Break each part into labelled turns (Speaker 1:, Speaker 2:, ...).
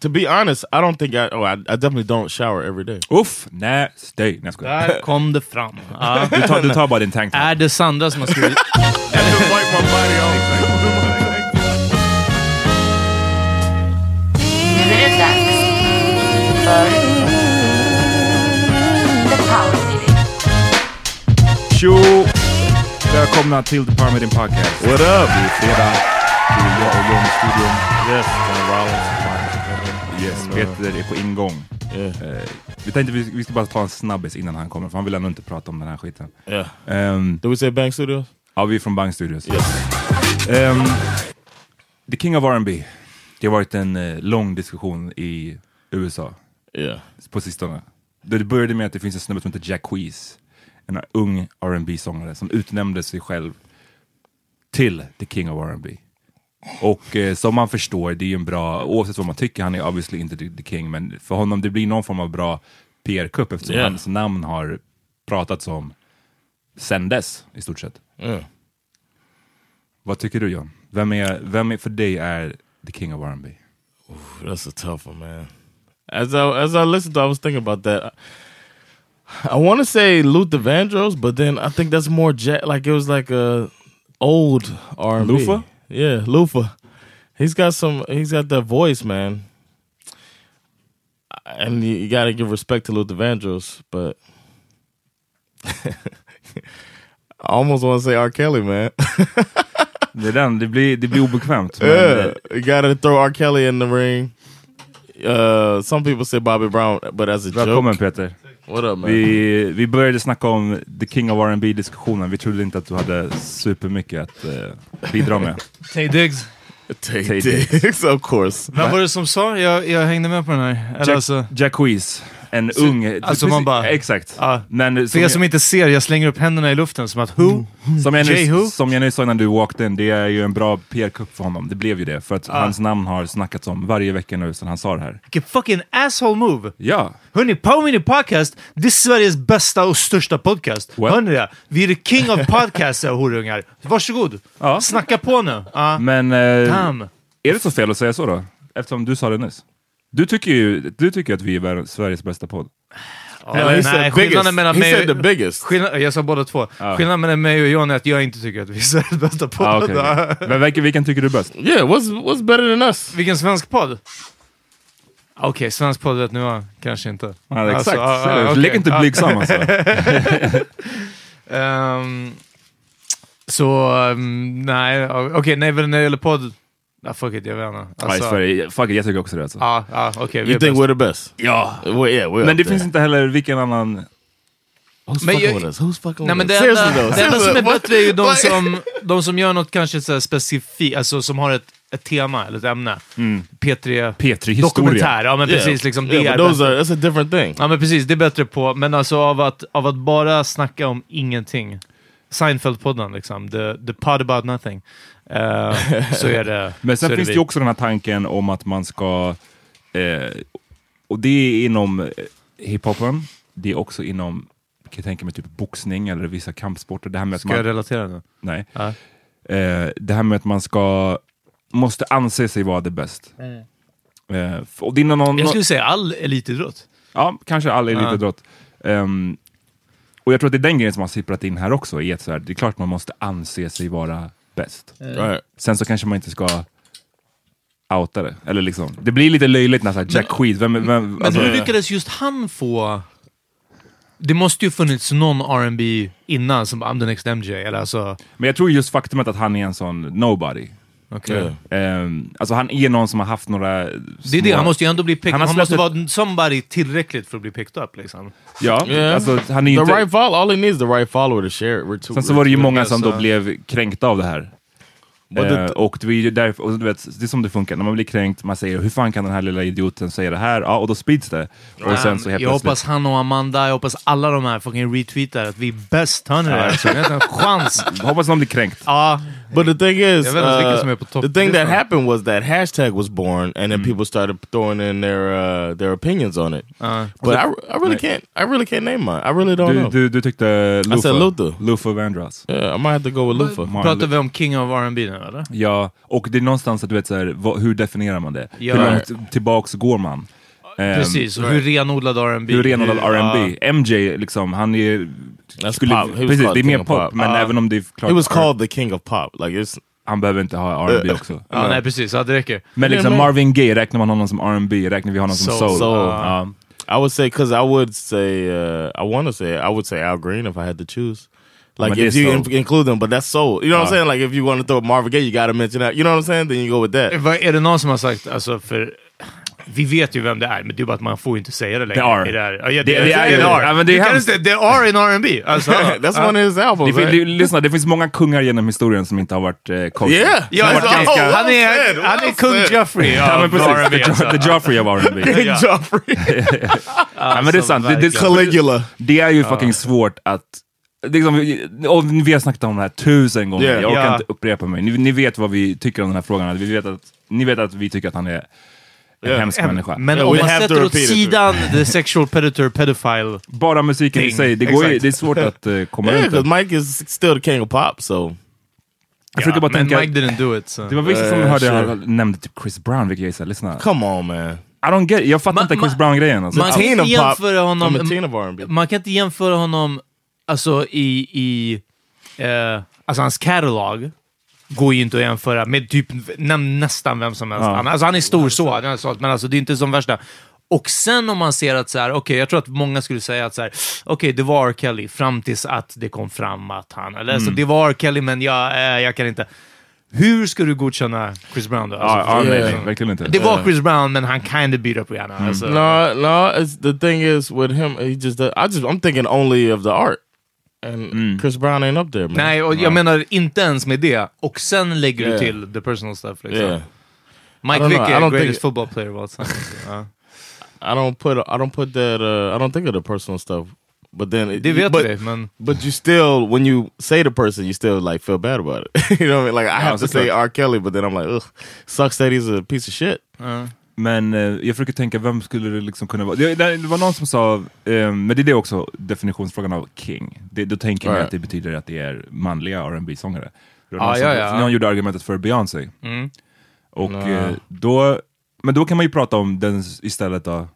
Speaker 1: to be honest, I don't think I. Oh, I, I definitely don't shower every day. Ah.
Speaker 2: Uff, nasty. Nej, jag skojar.
Speaker 3: Där kom det fram. Ja.
Speaker 2: Du tar, du tar bara din tank.
Speaker 3: Är det Sandra som har skrivit?
Speaker 4: Nu är det dags för The Power Meeting.
Speaker 2: Tjo! Välkomna till The Parmidin Podcast.
Speaker 1: What up?
Speaker 2: Fredag. Det är jag och John i studion. Mm.
Speaker 1: Yes, man, Rollins.
Speaker 2: Yes, Peter är på ingång.
Speaker 1: Yeah.
Speaker 2: Eh, vi tänkte vi, vi ska bara ta en snabbis innan han kommer, för han vill ändå inte prata om den här skiten.
Speaker 1: Yeah.
Speaker 2: Ehm,
Speaker 1: Do we say Bang Studios?
Speaker 2: ja, vi är från Bang Studios. Ehm, the King of R&B. Det har varit en eh, lång diskussion i USA
Speaker 1: Yeah.
Speaker 2: på sistone. Det började med att det finns en snubbe som heter Jack Quees, en ung rb sångare som utnämnde sig själv till the king of R&B. Och eh, som man förstår, det är ju en bra, oavsett vad man tycker, han är obviously inte the, the king, men för honom det blir någon form av bra PR-kupp eftersom
Speaker 1: Yeah.
Speaker 2: hans namn har pratats om sen dess, i stort sett.
Speaker 1: Yeah.
Speaker 2: Vad tycker du John? Vem är, vem är för dig är the king of R&B?
Speaker 1: That's a tough one, man. As I as I listened, to, it, I was thinking about that. I want to say Luther Vandross, but then I think that's more jet. Like it was like a old R and B.
Speaker 2: Lufa?
Speaker 1: yeah, Lufa. He's got some. He's got that voice, man. And you, you got to give respect to Luther Vandross, but I almost want to say R. Kelly, man.
Speaker 2: Det, är den, det, blir, det blir obekvämt. men, eh,
Speaker 1: Yeah, you gotta throw R. Kelly in the ring. Uh, some people say Bobby Brown, but as a
Speaker 2: Välkommen
Speaker 1: joke.
Speaker 2: Peter!
Speaker 1: What up, man?
Speaker 2: Vi, vi började snacka om the king of R&B diskussionen Vi trodde inte att du hade supermycket att eh, bidra med.
Speaker 3: Tay Diggs.
Speaker 1: Tay
Speaker 2: Tay
Speaker 1: Diggs, of course.
Speaker 3: Vem var det som sa? Jag, jag hängde med på den här. Eller
Speaker 2: Jack,
Speaker 3: alltså,
Speaker 2: Jack Quees, en ung...
Speaker 3: alltså man bara-
Speaker 2: Exakt.
Speaker 3: Ja.
Speaker 2: Men
Speaker 3: för
Speaker 2: som,
Speaker 3: er
Speaker 2: jag,
Speaker 3: som inte ser, jag slänger upp händerna i luften som att who?
Speaker 2: som, jag
Speaker 3: Jay Who?
Speaker 2: nyss, som jag nyss sa innan du walked in, det är ju en bra PR-kupp för honom. Det blev ju det, för att hans namn har snackats om varje vecka nu sedan han sa det här.
Speaker 3: Vilken fucking asshole move!
Speaker 2: Ja,
Speaker 3: Hörni, Power Mini Podcast, det är Sveriges bästa och största podcast.
Speaker 2: Well.
Speaker 3: Hör ni det? Vi är the king of podcasts, era horungar. Varsågod,
Speaker 2: Ja.
Speaker 3: snacka på nu. Ja.
Speaker 2: men... eh,
Speaker 3: Damn.
Speaker 2: Är det så fel att säga så då? Eftersom du sa det nyss. Du tycker ju du tycker att vi är världens- Sveriges bästa podd.
Speaker 1: No,
Speaker 3: nej,
Speaker 1: he said
Speaker 3: skillnaden
Speaker 1: biggest.
Speaker 3: mellan
Speaker 1: He
Speaker 3: mig
Speaker 1: said the
Speaker 3: och...
Speaker 1: biggest.
Speaker 3: Skillnaden, jag sa båda två. Skillnaden mellan mig och John är att jag inte tycker att vi är Sveriges bästa podd.
Speaker 2: Ah, okej. Men vilken, vilken tycker du är bäst?
Speaker 1: Yeah, what's what's better than us?
Speaker 3: Vilken svensk podd? Okej, svensk podd vet ni vad? Kanske inte.
Speaker 2: Ja, exakt.
Speaker 3: Alltså, ah,
Speaker 2: Säg det.
Speaker 3: ah, okej.
Speaker 2: Lägg inte
Speaker 3: Ah.
Speaker 2: blygsam alltså.
Speaker 3: Ehm, så, ehm, nej. ah, Okej, nej, men när det gäller podd... Ah, fuck it, jag vet inte. Alltså,
Speaker 2: Nej, Sverige. Fuck it, jag tycker också det alltså.
Speaker 3: Ja, ja, okej. vi
Speaker 1: You
Speaker 3: är
Speaker 1: think
Speaker 3: bäst.
Speaker 1: we're the best?
Speaker 2: Ja.
Speaker 1: Well, yeah, we're
Speaker 2: Men
Speaker 1: up
Speaker 2: det
Speaker 1: there.
Speaker 2: finns inte heller vilken annan...
Speaker 1: Who's
Speaker 3: Men
Speaker 1: fucking
Speaker 3: jag-
Speaker 1: with us? Who's fucking
Speaker 3: Nej, men
Speaker 1: with
Speaker 3: det
Speaker 1: us?
Speaker 3: enda,
Speaker 1: though,
Speaker 3: det enda som är
Speaker 1: seriously,
Speaker 3: bättre är ju de som, de som gör något kanske så här specifikt, alltså som har ett, ett tema eller ett ämne. P3...
Speaker 2: P3
Speaker 3: Dokumentär, ja
Speaker 2: historia.
Speaker 3: men
Speaker 1: Mm. yeah.
Speaker 3: precis. Liksom, det
Speaker 1: yeah,
Speaker 3: är
Speaker 1: but those
Speaker 3: bättre.
Speaker 1: are that's a different thing.
Speaker 3: Ja men precis, det är bättre på. Men alltså av att, av att bara snacka om ingenting. Seinfeld-podden liksom, the, the pod about nothing. Eh, så är det
Speaker 2: Men
Speaker 3: så är
Speaker 2: sen finns det
Speaker 3: vi.
Speaker 2: ju också den här tanken om att man ska... Eh, och det är inom eh, hiphopen. Det är också inom, kan jag tänka mig, typ boxning eller vissa kampsporter. Det här med att
Speaker 3: Ska jag
Speaker 2: man,
Speaker 3: relatera nu?
Speaker 2: nej.
Speaker 3: Ja.
Speaker 2: Eh, det här med att man ska... Måste anse sig vara det bäst. Eh, f- och det är någon, någon,
Speaker 3: Jag skulle säga all elitidrott.
Speaker 2: Ja, kanske all
Speaker 3: Ja.
Speaker 2: elitidrott. Ehm, och jag tror att det är den grejen som har sipprat in här också. Är att så här, det är klart man måste anse sig vara bäst.
Speaker 3: Eh.
Speaker 1: Right.
Speaker 2: Sen så kanske man inte ska outa det. Eller liksom, det blir lite löjligt när så här, Jack Queed, vem, vem,
Speaker 3: Men
Speaker 2: alltså,
Speaker 3: hur lyckades just han få... Det måste ju funnits någon R&B innan som I'm the next MJ, eller alltså...
Speaker 2: men jag tror just faktumet att han är en sån nobody.
Speaker 3: Okay.
Speaker 1: Yeah.
Speaker 2: Ehm, alltså han är någon som har haft några...
Speaker 3: Det är det, han måste ju ändå bli picked.
Speaker 2: Han
Speaker 3: Han,
Speaker 2: har
Speaker 3: måste
Speaker 2: släppt
Speaker 3: vara somebody tillräckligt för att bli picked up liksom.
Speaker 2: Ja,
Speaker 1: Yeah.
Speaker 2: alltså han är ju
Speaker 1: The
Speaker 2: inte...
Speaker 1: right follow, all he needs is the right follower to share it. We're too.
Speaker 2: Sen så var det ju många som då
Speaker 3: alltså.
Speaker 2: blev kränkta av det här.
Speaker 1: But
Speaker 2: Eh,
Speaker 1: the-
Speaker 2: och det är ju därför, och du vet, det är som det funkar, när man blir kränkt, man säger hur fan kan den här lilla idioten säga det här? Ja, och då sprids det. Och sen så
Speaker 3: Ehm, jag
Speaker 2: helt plötsligt...
Speaker 3: hoppas han och Amanda, jag hoppas alla de här fucking retweetar att vi är bäst. Hör ni det? Alltså, Ni har inte en chans.
Speaker 2: Jag hoppas någon blir kränkt.
Speaker 3: Ja,
Speaker 1: But the thing is,
Speaker 3: Jag vet inte vilken som är på
Speaker 1: uh,
Speaker 3: topp
Speaker 1: the thing that
Speaker 3: listan.
Speaker 1: happened was that hashtag was born, and then people started throwing in their uh, their opinions on it. Uh, but I, I really can't, I really can't name mine. I really don't
Speaker 2: Du,
Speaker 1: know.
Speaker 2: du, du tyckte Lufa,
Speaker 1: said Luther.
Speaker 2: Lufa Vandross.
Speaker 1: Yeah, I might have to go with Lufa.
Speaker 2: Martin
Speaker 3: pratar vi om King of R&B nu? nu eller?
Speaker 2: Ja, och det är någonstans att du vet så här, vad, hur definierar man det?
Speaker 3: Ja.
Speaker 2: Hur långt tillbaks går man? Ehm,
Speaker 3: Precis, och hur renodlad R&B
Speaker 2: Hur renodlad R&B
Speaker 3: Ja.
Speaker 2: MJ liksom, han är...
Speaker 1: That's
Speaker 2: skulle-
Speaker 1: pop. He was
Speaker 2: Precis,
Speaker 1: called
Speaker 2: det är mer
Speaker 1: king of
Speaker 2: pop,
Speaker 1: pop.
Speaker 2: men
Speaker 1: Ah.
Speaker 2: även om det är klart...
Speaker 1: It was called the king of pop. Like it's
Speaker 2: Han behöver inte ha R&B också.
Speaker 3: Eh, Ja, nej precis. Ja, det räcker.
Speaker 2: Men
Speaker 1: Ja,
Speaker 2: liksom
Speaker 1: men-
Speaker 2: Marvin Gaye, räknar man honom som R&B räknar vi honom som
Speaker 3: Soul.
Speaker 2: soul.
Speaker 1: Soul.
Speaker 2: Ja.
Speaker 1: I would say because I would say uh, I want to say I would say Al Green if I had to choose. Like
Speaker 2: but
Speaker 1: if
Speaker 2: that's
Speaker 1: you
Speaker 2: soul.
Speaker 1: in- include them, but that's soul. You know what I'm saying? Like if you want to throw Marvin Gaye, you got to mention that. You know what I'm saying? Then you go with that.
Speaker 3: Vad- Är det någon som har sagt, alltså för... Vi vet ju vem det är, men det är bara att man får inte säga det längre.
Speaker 2: Det är.
Speaker 3: I det här. Ja, ja,
Speaker 2: Det-
Speaker 3: det,
Speaker 2: det är
Speaker 3: är
Speaker 2: ju- ja, men
Speaker 3: det.
Speaker 2: det är
Speaker 3: Du kan
Speaker 2: hemskt.
Speaker 3: inte säga, Det är en R&B Alltså,
Speaker 1: that's
Speaker 3: ja.
Speaker 1: one of his
Speaker 2: Det,
Speaker 1: albums.
Speaker 2: fin-
Speaker 1: right?
Speaker 2: det, lyssna, det finns många kungar genom historien som inte har varit eh, coacher.
Speaker 1: Yeah.
Speaker 3: Ja,
Speaker 1: Som
Speaker 3: alltså,
Speaker 1: varit ganska-
Speaker 3: han
Speaker 1: Well
Speaker 3: är,
Speaker 1: said,
Speaker 3: han är
Speaker 1: well
Speaker 3: kung
Speaker 1: said.
Speaker 3: Joffrey
Speaker 2: Ja,
Speaker 3: av
Speaker 2: men precis.
Speaker 3: R&B
Speaker 2: The,
Speaker 3: alltså.
Speaker 2: Jo- the Joffrey av R&B.
Speaker 1: King
Speaker 3: Yeah.
Speaker 1: Joffrey.
Speaker 2: ja, men det är sant. Det, det,
Speaker 1: Caligula.
Speaker 2: det är ju fucking svårt att... Liksom, vi- och vi har snackat om det här tusen gånger,
Speaker 1: Yeah.
Speaker 2: jag orkar
Speaker 3: Ja.
Speaker 2: inte upprepar mig. Ni, ni vet vad vi tycker om den här frågan. Vi vet att, ni vet att vi tycker att han är en
Speaker 1: Yeah.
Speaker 2: hemsk människa.
Speaker 3: Men
Speaker 1: Yeah,
Speaker 3: om
Speaker 1: we
Speaker 3: man
Speaker 1: have to
Speaker 3: sätter åt
Speaker 1: repeat it.
Speaker 3: sidan the sexual predator pedophile.
Speaker 2: Bara musiken i
Speaker 3: Thing.
Speaker 2: sig, det, går ju,
Speaker 3: Exakt.
Speaker 2: det är svårt att eh, komma
Speaker 1: Yeah,
Speaker 2: runt
Speaker 1: because
Speaker 2: det.
Speaker 1: Mike is still the king of pop. So
Speaker 2: Jag försöker bara
Speaker 3: men
Speaker 2: tänka...
Speaker 3: Mike didn't do it. Så.
Speaker 2: Det var vissa som
Speaker 1: Eh,
Speaker 2: hörde
Speaker 1: sure.
Speaker 2: jag nämnde typ Chris Brown, vilket jag är såhär, lyssna.
Speaker 1: come on, man.
Speaker 2: I don't get it. Jag fattar
Speaker 3: Ma-
Speaker 2: inte Chris
Speaker 3: ma-
Speaker 2: Brown-grejen alltså.
Speaker 3: man kan
Speaker 1: Teen
Speaker 3: inte
Speaker 1: of pop.
Speaker 3: jämföra
Speaker 1: I'm a
Speaker 3: honom...
Speaker 1: teen of R&B.
Speaker 3: Man kan inte jämföra honom alltså i... i eh, alltså hans catalog går ju inte att jämföra med typ näm, nästan vem som helst.
Speaker 2: Ja.
Speaker 3: Han, alltså han är stor så, han är så, men alltså det är inte som värsta. Och sen om man ser att så här, okej, jag tror att många skulle säga att så här, okej, det var R. Kelly fram tills att det kom fram att han, eller
Speaker 2: Mm.
Speaker 3: så det var R. Kelly, men jag, eh, jag kan inte. Hur ska du godkänna Chris Brown då? Alltså,
Speaker 2: Ja, ja, nej,
Speaker 1: Yeah.
Speaker 2: nej, verkligen inte.
Speaker 3: Det var Chris Brown, men han kind of beat up Rihanna. Alltså.
Speaker 1: No, no. It's, the thing is with him, he just I just I'm thinking only of the art, and Chris Brown ain't up there, man.
Speaker 3: Nej, och jag menar inte ens med det. Och sen lägger
Speaker 1: Yeah.
Speaker 3: du till the personal stuff. Liksom.
Speaker 1: Yeah. I
Speaker 3: Mike
Speaker 1: don't
Speaker 3: Vick
Speaker 1: know, I
Speaker 3: är
Speaker 1: don't
Speaker 3: greatest
Speaker 1: think-
Speaker 3: football player of all time. Ja.
Speaker 1: I don't put I don't put that uh, I don't think of the personal stuff. But then it,
Speaker 3: Det vet
Speaker 1: but,
Speaker 3: vi, men...
Speaker 1: but you still when you say the person, you still like feel bad about it. you know what I mean? Like I have to
Speaker 2: it's okay.
Speaker 1: say R. Kelly, but then I'm like, ugh, sucks that he's a piece of shit.
Speaker 2: Men eh, jag försöker tänka, vem skulle det liksom kunna vara? Det, det var någon som sa, eh, men det är det också definitionsfrågan av king. Det, då tänker jag
Speaker 1: Right.
Speaker 2: att det betyder att det är manliga rb sångare Det var
Speaker 3: Ah,
Speaker 2: någon som-
Speaker 3: ja, ja.
Speaker 2: Någon gjorde argumentet för Beyoncé.
Speaker 3: Mm.
Speaker 2: Och,
Speaker 1: Nå.
Speaker 2: eh, då, men då kan man ju prata om den istället då,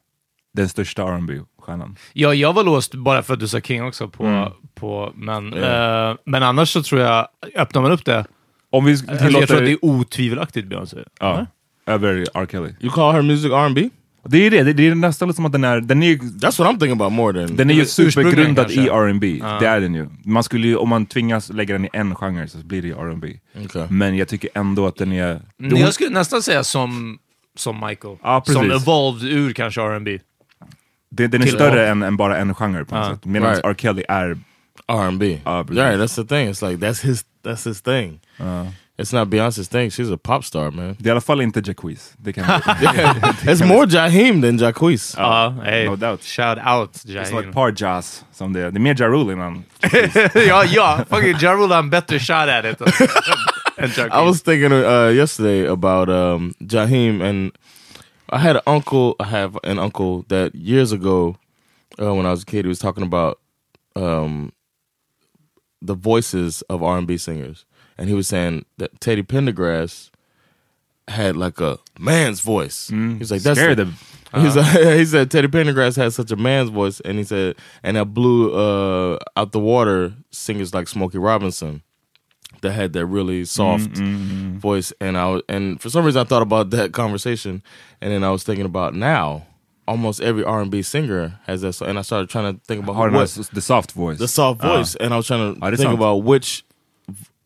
Speaker 2: den största rb stjärnan
Speaker 3: Ja, jag var låst bara för att du sa King också. På, på, men, eh, men annars så tror jag, öppnar man upp det,
Speaker 2: Om vi
Speaker 3: alltså, jag tror
Speaker 2: tillåter...
Speaker 3: att det är otvivelaktigt Beyoncé.
Speaker 2: ja, över R. Kelly.
Speaker 1: You call her music R and B?
Speaker 2: Det är det, det, det är nästan som att den är, den är
Speaker 1: That's what I'm thinking about more than
Speaker 2: Den är ju
Speaker 3: Ursprungligen
Speaker 2: supergrundad
Speaker 3: kanske.
Speaker 2: i R&B. det är den ju. Man skulle ju, om man tvingas lägga den i en genre så blir det ju R&B.
Speaker 1: Okay.
Speaker 2: Men jag tycker ändå att den
Speaker 1: Mm.
Speaker 2: är...
Speaker 3: Nej, Jag skulle nästan säga som, som Michael.
Speaker 2: Ja, precis.
Speaker 3: som evolved ur kanske R&B.
Speaker 2: Den, den är
Speaker 3: Till-
Speaker 2: större än, än bara en genre på något
Speaker 3: Ja.
Speaker 2: sätt. Medan
Speaker 1: Ah, Right.
Speaker 2: R. Kelly är...
Speaker 1: R and B. Uh-huh.
Speaker 2: Ah, precis.
Speaker 1: Right, that's the thing. It's like that's his that's his thing. It's not Beyonce's thing. She's a pop star, man.
Speaker 2: Det är i alla fall inte Jacquees. Det kan man-
Speaker 1: It's more Jaheim than Jacquees.
Speaker 3: Ja, hey.
Speaker 2: no doubt.
Speaker 3: Shout out
Speaker 2: Det är som ett
Speaker 3: Jaheim.
Speaker 2: par jazz som det är. Det är mer Ja Rule innan.
Speaker 3: ja, ja. Fucking Ja Rule har en bättre shot at it. än Chuck
Speaker 1: I was thinking uh, yesterday about um, Jaheim, and I had an uncle. I have an uncle that years ago, uh, when I was a kid, he was talking about um, the voices of R and B singers, and he was saying that Teddy Pendergrass had like a man's voice. He was like, "That's
Speaker 2: Scare
Speaker 1: the-
Speaker 2: the-
Speaker 1: He's he said Teddy Pendergrass has such a man's voice, and he said, and that blew uh, out the water singers like Smokey Robinson that had that really soft voice. And I was, and for some reason I thought about that conversation, and then I was thinking about now almost every R and B singer has that. So, and I started trying to think about
Speaker 2: Har den
Speaker 1: what
Speaker 2: här, the soft voice.
Speaker 1: the soft
Speaker 2: Ja.
Speaker 1: voice, and I was trying to
Speaker 2: Ah, det är
Speaker 1: think
Speaker 2: sant.
Speaker 1: about which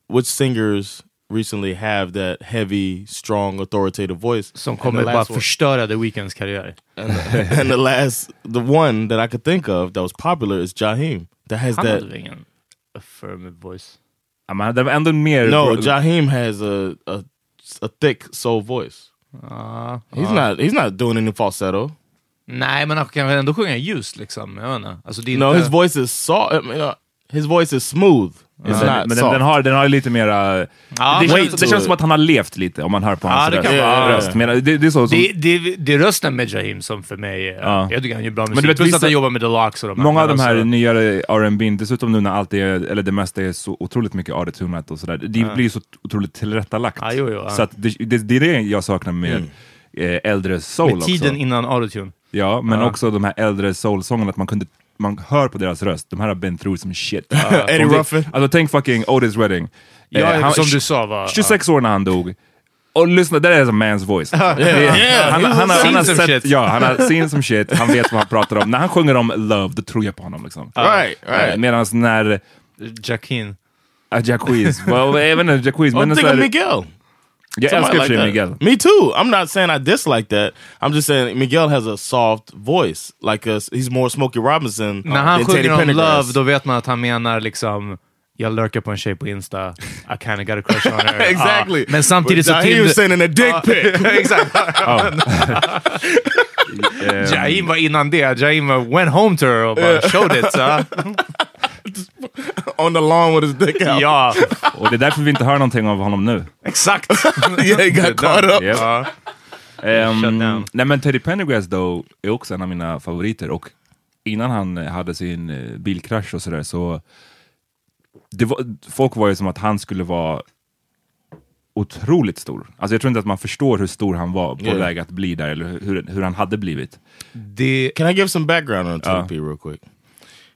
Speaker 1: which singers recently have that heavy, strong, authoritative voice.
Speaker 3: Som
Speaker 1: And
Speaker 3: kommer
Speaker 1: the
Speaker 3: bara
Speaker 1: last one-
Speaker 3: förstöra The Weeknds karriär.
Speaker 1: and the, and the last, the one that I could think of that was popular is Jaheim. That has
Speaker 3: Han hade
Speaker 1: that.
Speaker 3: väl ingen affirmative voice?
Speaker 2: Ja, men det var ändå mer...
Speaker 1: No, Jaheim has a, a a thick soul voice.
Speaker 3: Ja.
Speaker 1: He's not he's not doing any falsetto.
Speaker 3: Nej, men han kan väl ändå sjunga ljust liksom. Jag vet inte. Alltså, det är
Speaker 1: No,
Speaker 3: inte...
Speaker 1: his voice is soft. I mean, uh, his voice is smooth. It's
Speaker 2: Men,
Speaker 1: not
Speaker 2: men den,
Speaker 1: soft. Ah,
Speaker 2: den, har, den har lite mera... det,
Speaker 1: wait Ah,
Speaker 2: känns, det
Speaker 1: to
Speaker 2: känns
Speaker 1: it.
Speaker 2: som att han har levt lite om man hör på
Speaker 3: Ja,
Speaker 2: hans
Speaker 3: det
Speaker 2: röst.
Speaker 3: kan vara.
Speaker 2: röst. Men det, det är så som,
Speaker 3: Det, det, det är rösten med Jaheim som för mig, är-
Speaker 2: Ja.
Speaker 3: jag tycker han gör bra musik.
Speaker 2: du vet,
Speaker 3: Plus
Speaker 2: vissa-
Speaker 3: att han jobbar med Deluxe och de
Speaker 2: Många av de här
Speaker 3: alltså-
Speaker 2: nyare R&B, dessutom nu när allt är, eller det mesta är så otroligt mycket adetunat och sådär, det blir ju så otroligt tillrättalagt.
Speaker 3: Ja, jo, jo, ja. Mm.
Speaker 2: Så att det, det, det är det jag saknar med eh, äldre soul
Speaker 3: Med tiden
Speaker 2: också.
Speaker 3: innan autotune.
Speaker 2: Ja, men
Speaker 3: Ja.
Speaker 2: också de här äldre soulsångerna, att man kunde man hör på deras röst, de här har been through some shit. Och
Speaker 1: Eddie
Speaker 2: det-
Speaker 1: Ruffin.
Speaker 2: Alltså tänk fucking Otis Redding.
Speaker 3: Ja,
Speaker 2: Eh, han-
Speaker 3: som du sa var...
Speaker 2: 26 år när han dog. Och lyssna, det där är som man's voice. Det-
Speaker 1: yeah.
Speaker 2: han, han, han, har-
Speaker 3: Seen
Speaker 2: han har
Speaker 3: some shit.
Speaker 2: sett, ja, han har seen some shit, han vet vad han pratar om. När han sjunger om love, då tror jag på honom. Liksom.
Speaker 1: Right,
Speaker 2: uh,
Speaker 1: right.
Speaker 2: Medan när
Speaker 3: Ja, Jacquin.
Speaker 2: uh, Jacquees, well, även när Jacquees,
Speaker 1: Oh,
Speaker 2: men
Speaker 1: think
Speaker 2: så
Speaker 1: of
Speaker 2: här,
Speaker 1: Miguel.
Speaker 2: jag
Speaker 1: Somebody like
Speaker 2: älskar Free
Speaker 1: that.
Speaker 2: Miguel.
Speaker 1: Me too. I'm not saying I dislike that. I'm just saying Miguel has a soft voice. Like a, he's more Smokey Robinson
Speaker 3: När han
Speaker 1: than Teddy
Speaker 3: sjunger om
Speaker 1: Pendergrass.
Speaker 3: Love, då vet man att han menar liksom... Jag lurkar på en tjej på Insta, I kinda got a crush on her.
Speaker 1: Exactly.
Speaker 3: Ja, Men samtidigt så...
Speaker 1: But Jaheim
Speaker 3: Tinder-
Speaker 1: was sending a dick
Speaker 3: Uh,
Speaker 1: pic.
Speaker 3: Exakt.
Speaker 2: Ehm,
Speaker 3: Jaim var innan det. Jaim var went home to her och bara showed it. Så.
Speaker 1: on the lawn with his dick out.
Speaker 3: Ja,
Speaker 2: och det är därför vi inte hör någonting av honom nu.
Speaker 3: exakt.
Speaker 1: yeah, he got caught up.
Speaker 2: Yep. Ehm,
Speaker 3: Shut down.
Speaker 2: nej men Teddy Pendergrass då är också en av mina favoriter och innan han eh, hade sin eh, bilkrasch och sådär så det var, folk var ju som att han skulle vara otroligt stor. Alltså jag tror inte att man förstår hur stor han var på
Speaker 1: Yeah.
Speaker 2: väg att bli där eller hur, hur han hade blivit.
Speaker 3: Det,
Speaker 1: Can I give some background on Teddy
Speaker 2: Uh.
Speaker 1: P real quick?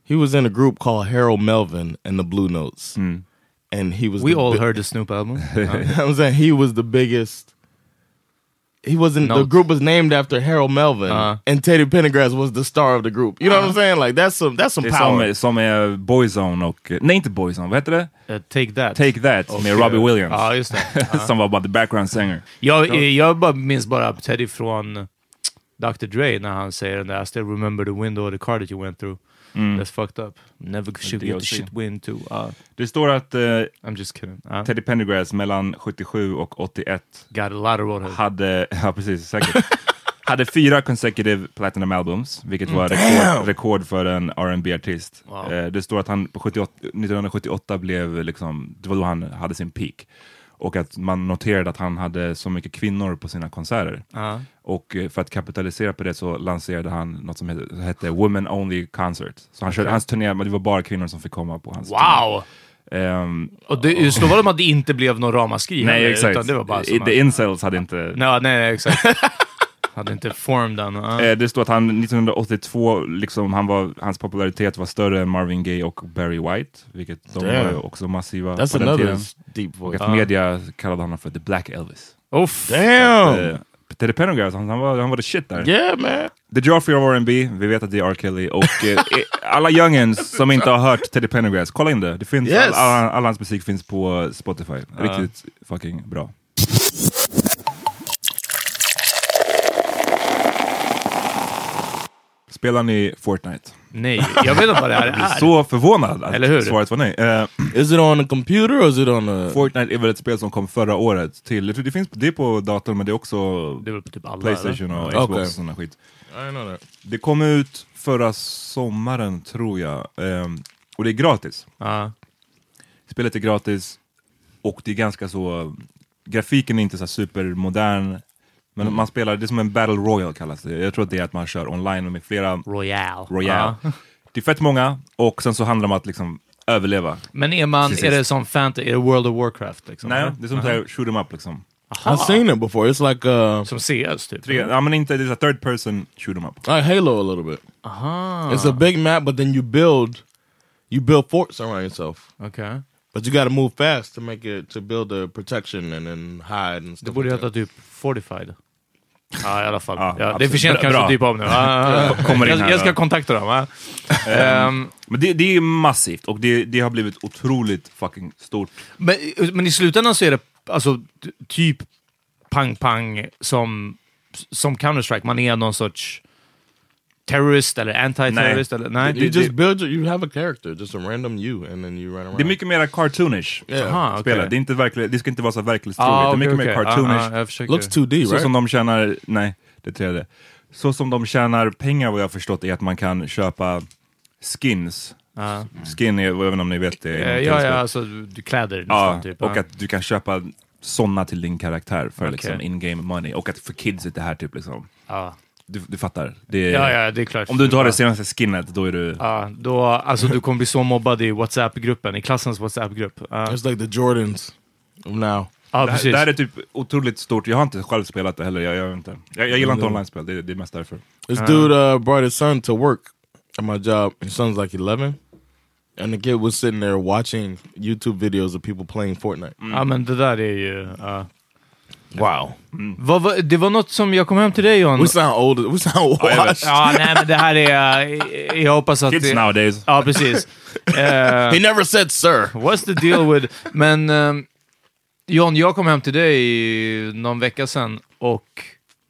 Speaker 1: He was in a group called Harold Melvin and the Blue Notes. And he was
Speaker 3: we
Speaker 1: the
Speaker 3: all
Speaker 1: bi-
Speaker 3: heard the Snoop album. Uh,
Speaker 1: I'm saying he was the biggest. He wasn't. The
Speaker 3: Notes.
Speaker 1: group was named after Harold Melvin,
Speaker 3: Uh-huh.
Speaker 1: and Teddy Pendergrass was the star of the group. You know what I'm saying? Like that's some that's some
Speaker 2: Det är
Speaker 1: power.
Speaker 2: som, som är Boyzone och, nej inte Boyzone, vad heter det?
Speaker 3: Uh, take that.
Speaker 2: Take That med Robbie Williams.
Speaker 3: Ja, just det.
Speaker 2: som var bara the background singer.
Speaker 3: Jag, eh, jag bara minns bara Teddy från Dr. Dre när han säger den där I still remember the window of the car that you went through. That's fucked up. Never should get the
Speaker 2: DLC.
Speaker 3: shit wind to. Uh,
Speaker 2: Det står att eh,
Speaker 3: I'm just kidding. Uh,
Speaker 2: Teddy Pendergrass mellan 77 och 81
Speaker 3: got a lot of road ahead.
Speaker 2: hade, ja precis, säkert. hade fyra consecutive platinum albums, vilket var rekord, rekord för en rb artist
Speaker 3: Wow.
Speaker 2: eh, Det står att han på 78, 1978 blev liksom, det var då han hade sin peak. Och att man noterade att han hade så mycket kvinnor på sina konserter.
Speaker 3: Ja.
Speaker 2: Och eh, för att kapitalisera på det så lanserade han något som hette, hette Women Only Concert. Så han körde, hans turné, men det var bara kvinnor som fick komma på hans
Speaker 3: Wow!
Speaker 2: turné. Ehm,
Speaker 3: Och det, just då var det att det inte blev någon ramaskri.
Speaker 2: nej
Speaker 3: heller,
Speaker 2: exakt,
Speaker 3: Utan det var bara
Speaker 2: I-
Speaker 3: som
Speaker 2: the incels hade inte
Speaker 3: No, nej, nej, exakt. Hade inte form den. Ja.
Speaker 2: Eh, Det står att han 1982, liksom, han var, hans popularitet var större än Marvin Gaye och Barry White, vilket de
Speaker 1: Damn.
Speaker 2: var ju också massiva
Speaker 1: that's
Speaker 2: på den
Speaker 1: another
Speaker 2: tiden.
Speaker 1: s- deep
Speaker 2: Och
Speaker 1: voice.
Speaker 2: att
Speaker 3: Ah.
Speaker 2: media kallade honom för The Black Elvis.
Speaker 3: Oh,
Speaker 1: Damn.
Speaker 2: Eh, Teddy Pendergrass, han, han, var, han var the shit där.
Speaker 1: yeah, man.
Speaker 2: The Joffrey of R&B, vi vet att det är R. Kelly. Och eh, eh, alla youngins som inte har hört Teddy Pendergrass, kolla in det. det finns,
Speaker 1: Yes.
Speaker 2: all, all, all hans musik finns på eh, Spotify. Riktigt fucking bra. Spelar ni Fortnite?
Speaker 3: nej, jag vet inte vad det här
Speaker 2: Jag är
Speaker 3: är.
Speaker 2: så förvånad att
Speaker 3: Eller hur?
Speaker 2: svaret var nej. Eh,
Speaker 1: Is it on a computer or is it on a?
Speaker 2: Fortnite är väl ett spel som kom förra året till, jag tror det finns det är på datorn men det är också
Speaker 3: Det är väl typ alla,
Speaker 2: Playstation
Speaker 3: eller?
Speaker 2: och
Speaker 1: Okej.
Speaker 2: Xbox och sådana skit.
Speaker 1: I know that.
Speaker 2: Det kom ut förra sommaren tror jag. Ehm, och det är gratis.
Speaker 3: Ja.
Speaker 2: Spelet är gratis och det är ganska så... Grafiken är inte så supermodern. Men man spelar, det är som en battle royal kallas det. Jag tror att det är att man kör online med flera
Speaker 3: Royale.
Speaker 2: royal.
Speaker 3: Ja.
Speaker 2: Det är fett många och sen så handlar det om att liksom överleva.
Speaker 3: Men är, man,
Speaker 2: Precis.
Speaker 3: är det som fantasy? Är det World of Warcraft? Liksom,
Speaker 2: Nej,
Speaker 3: eller?
Speaker 2: det är som så här, shoot 'em up liksom.
Speaker 1: I've seen it before. It's like uh,
Speaker 3: Som CS, typ?
Speaker 2: Tre, ja men inte, det är så här third person shoot 'em up.
Speaker 1: like Halo a little bit.
Speaker 3: Aha,
Speaker 1: It's a
Speaker 2: Uh-huh.
Speaker 1: big map, but then you build you build forts around yourself.
Speaker 3: okej.
Speaker 1: But you got to move fast to make it to build the protection and then hide and
Speaker 3: Det
Speaker 1: stuff.
Speaker 3: borde
Speaker 1: like
Speaker 3: heta
Speaker 1: that.
Speaker 3: typ Fortified. Ja, i alla fall.
Speaker 2: Ja,
Speaker 3: ja, det är för
Speaker 2: absolut.
Speaker 3: sent
Speaker 2: Bra.
Speaker 3: kanske
Speaker 2: Bra.
Speaker 3: att typa om nu. Ja, ja, ja.
Speaker 2: Kommer in
Speaker 3: jag,
Speaker 2: här,
Speaker 3: jag ska
Speaker 2: ja.
Speaker 3: kontakta dem. va? Ehm,
Speaker 2: Men det, det är massivt och det, det har blivit otroligt fucking stort.
Speaker 3: Men, men i slutändan så är det alltså, t- typ pang-pang som, som Counter-Strike. Man är någon sorts terrorist eller anti-terrorist. Eller, nej.
Speaker 1: You
Speaker 2: Det-
Speaker 1: just
Speaker 2: det-
Speaker 1: build. Your, you have a character, just a random you, and then you run around.
Speaker 2: Det är mycket mer cartoonish.
Speaker 1: Yeah.
Speaker 3: Aha, okej.
Speaker 2: spelet. Det, är inte verklig, det ska inte vara så verklighetstroget.
Speaker 3: Ah,
Speaker 2: det är mycket
Speaker 3: okej,
Speaker 2: mer
Speaker 3: okej.
Speaker 2: cartoonish.
Speaker 3: Ah, ah, jag försöker.
Speaker 1: Looks 2D,
Speaker 2: så
Speaker 1: right?
Speaker 2: som de tjänar, nej, det tredje. Så som de tjänar pengar vad jag har förstått är att man kan köpa skins
Speaker 3: Ja.
Speaker 2: Skin är, jag vet inte om ni vet det.
Speaker 3: Eh,
Speaker 2: inom
Speaker 3: Ah. ja, ja,
Speaker 2: tv-spel.
Speaker 3: alltså du- kläder
Speaker 2: Ja,
Speaker 3: nästan, typ.
Speaker 2: och
Speaker 3: Ja.
Speaker 2: att du kan köpa sådana till din karaktär för liksom
Speaker 3: Okej.
Speaker 2: in-game money. Och att för kids är det här typ liksom.
Speaker 3: ja.
Speaker 2: Du, du fattar. Det är,
Speaker 3: Ah. ja, ja, det är klart.
Speaker 2: Om du inte har det senaste skinnet, då är du...
Speaker 3: Ja, då, alltså du kommer bli så mobbad i WhatsApp-gruppen, i klassens WhatsApp-grupp. Ja,
Speaker 1: It's like the Jordans of now.
Speaker 3: ja
Speaker 2: Mm. Det här, det
Speaker 3: precis.
Speaker 2: här är typ otroligt stort. Jag har inte själv spelat det heller. Jag, jag, vet inte. jag, jag gillar inte
Speaker 3: Mm.
Speaker 2: online-spel, det, det är mest därför.
Speaker 1: This dude uh, brought his son to work at my job. His son's like 11. And the kid was sitting there watching YouTube videos of people playing Fortnite.
Speaker 3: Ja, men det där är ju... ja.
Speaker 1: Wow.
Speaker 2: Mm.
Speaker 3: Vad, var- det var något som jag kom hem till dig, John.
Speaker 1: We sound old. We sound
Speaker 2: Oh, yeah, but-
Speaker 1: washed.
Speaker 3: Ja, nej, men det här är... eh, jag hoppas att...
Speaker 2: Kids
Speaker 3: det-
Speaker 2: nowadays.
Speaker 3: Ja, precis. Eh,
Speaker 1: He never said sir.
Speaker 3: What's the deal with... Men ehm, John, jag kom hem till dig någon vecka sedan och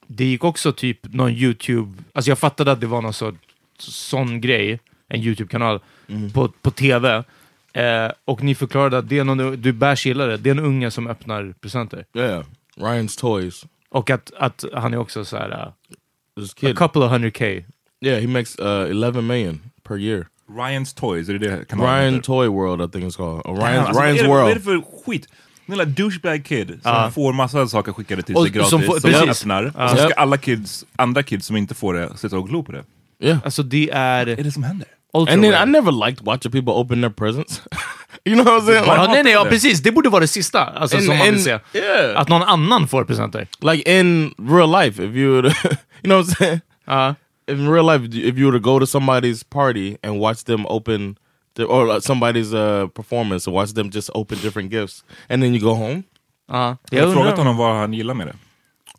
Speaker 3: det gick också typ någon YouTube... Alltså jag fattade att det var någon så, sån grej, en YouTube-kanal, på, på TV. Eh, och ni förklarade att det är någon, du bärs gillar det, det är en unge som öppnar presenter.
Speaker 1: Yeah. Ryan's toys.
Speaker 3: Och att, att han är också så här, eh,
Speaker 1: This
Speaker 3: a
Speaker 1: kid.
Speaker 3: couple of hundred k.
Speaker 1: Yeah, he makes uh, 11 million per year.
Speaker 2: Ryan's Toys, är det det kanalen
Speaker 1: Ryan
Speaker 2: heter?
Speaker 1: Toy World, I think it's called. Or
Speaker 2: Damn,
Speaker 1: Ryan's,
Speaker 2: alltså, vad är
Speaker 1: Ryan's
Speaker 2: det- Vad är det
Speaker 1: World.
Speaker 2: för skit? Den lilla douchebag kid som
Speaker 3: Ja.
Speaker 2: får massa saker skickade till
Speaker 3: Och
Speaker 2: sig gratis,
Speaker 3: som
Speaker 2: som,
Speaker 3: får-
Speaker 2: han
Speaker 3: precis.
Speaker 2: öppnar. Och så ska
Speaker 1: Yep.
Speaker 2: alla kids, andra kids som inte får det sitta och glo på det.
Speaker 1: Yeah.
Speaker 3: Alltså det
Speaker 2: Vad är
Speaker 3: är...
Speaker 2: det som händer?
Speaker 3: ultra
Speaker 1: And then
Speaker 3: rare.
Speaker 1: I never liked watching people open their presents. you know what I'm saying?
Speaker 3: Ja,
Speaker 1: Like,
Speaker 3: nej, nej, ja, precis. Det borde vara det sista alltså,
Speaker 1: And-
Speaker 3: som man vill
Speaker 1: and-
Speaker 3: se.
Speaker 1: yeah.
Speaker 3: Att någon annan får presenter.
Speaker 1: like in real life, if you would, you know what I'm saying?
Speaker 3: Ja.
Speaker 1: In real life, if you were to go to somebody's party and watch them open, their, or uh, somebody's uh, performance, and watch them just open different gifts, and then you go home,
Speaker 3: Ja.
Speaker 2: Jag har frågat honom vad han gillar med det.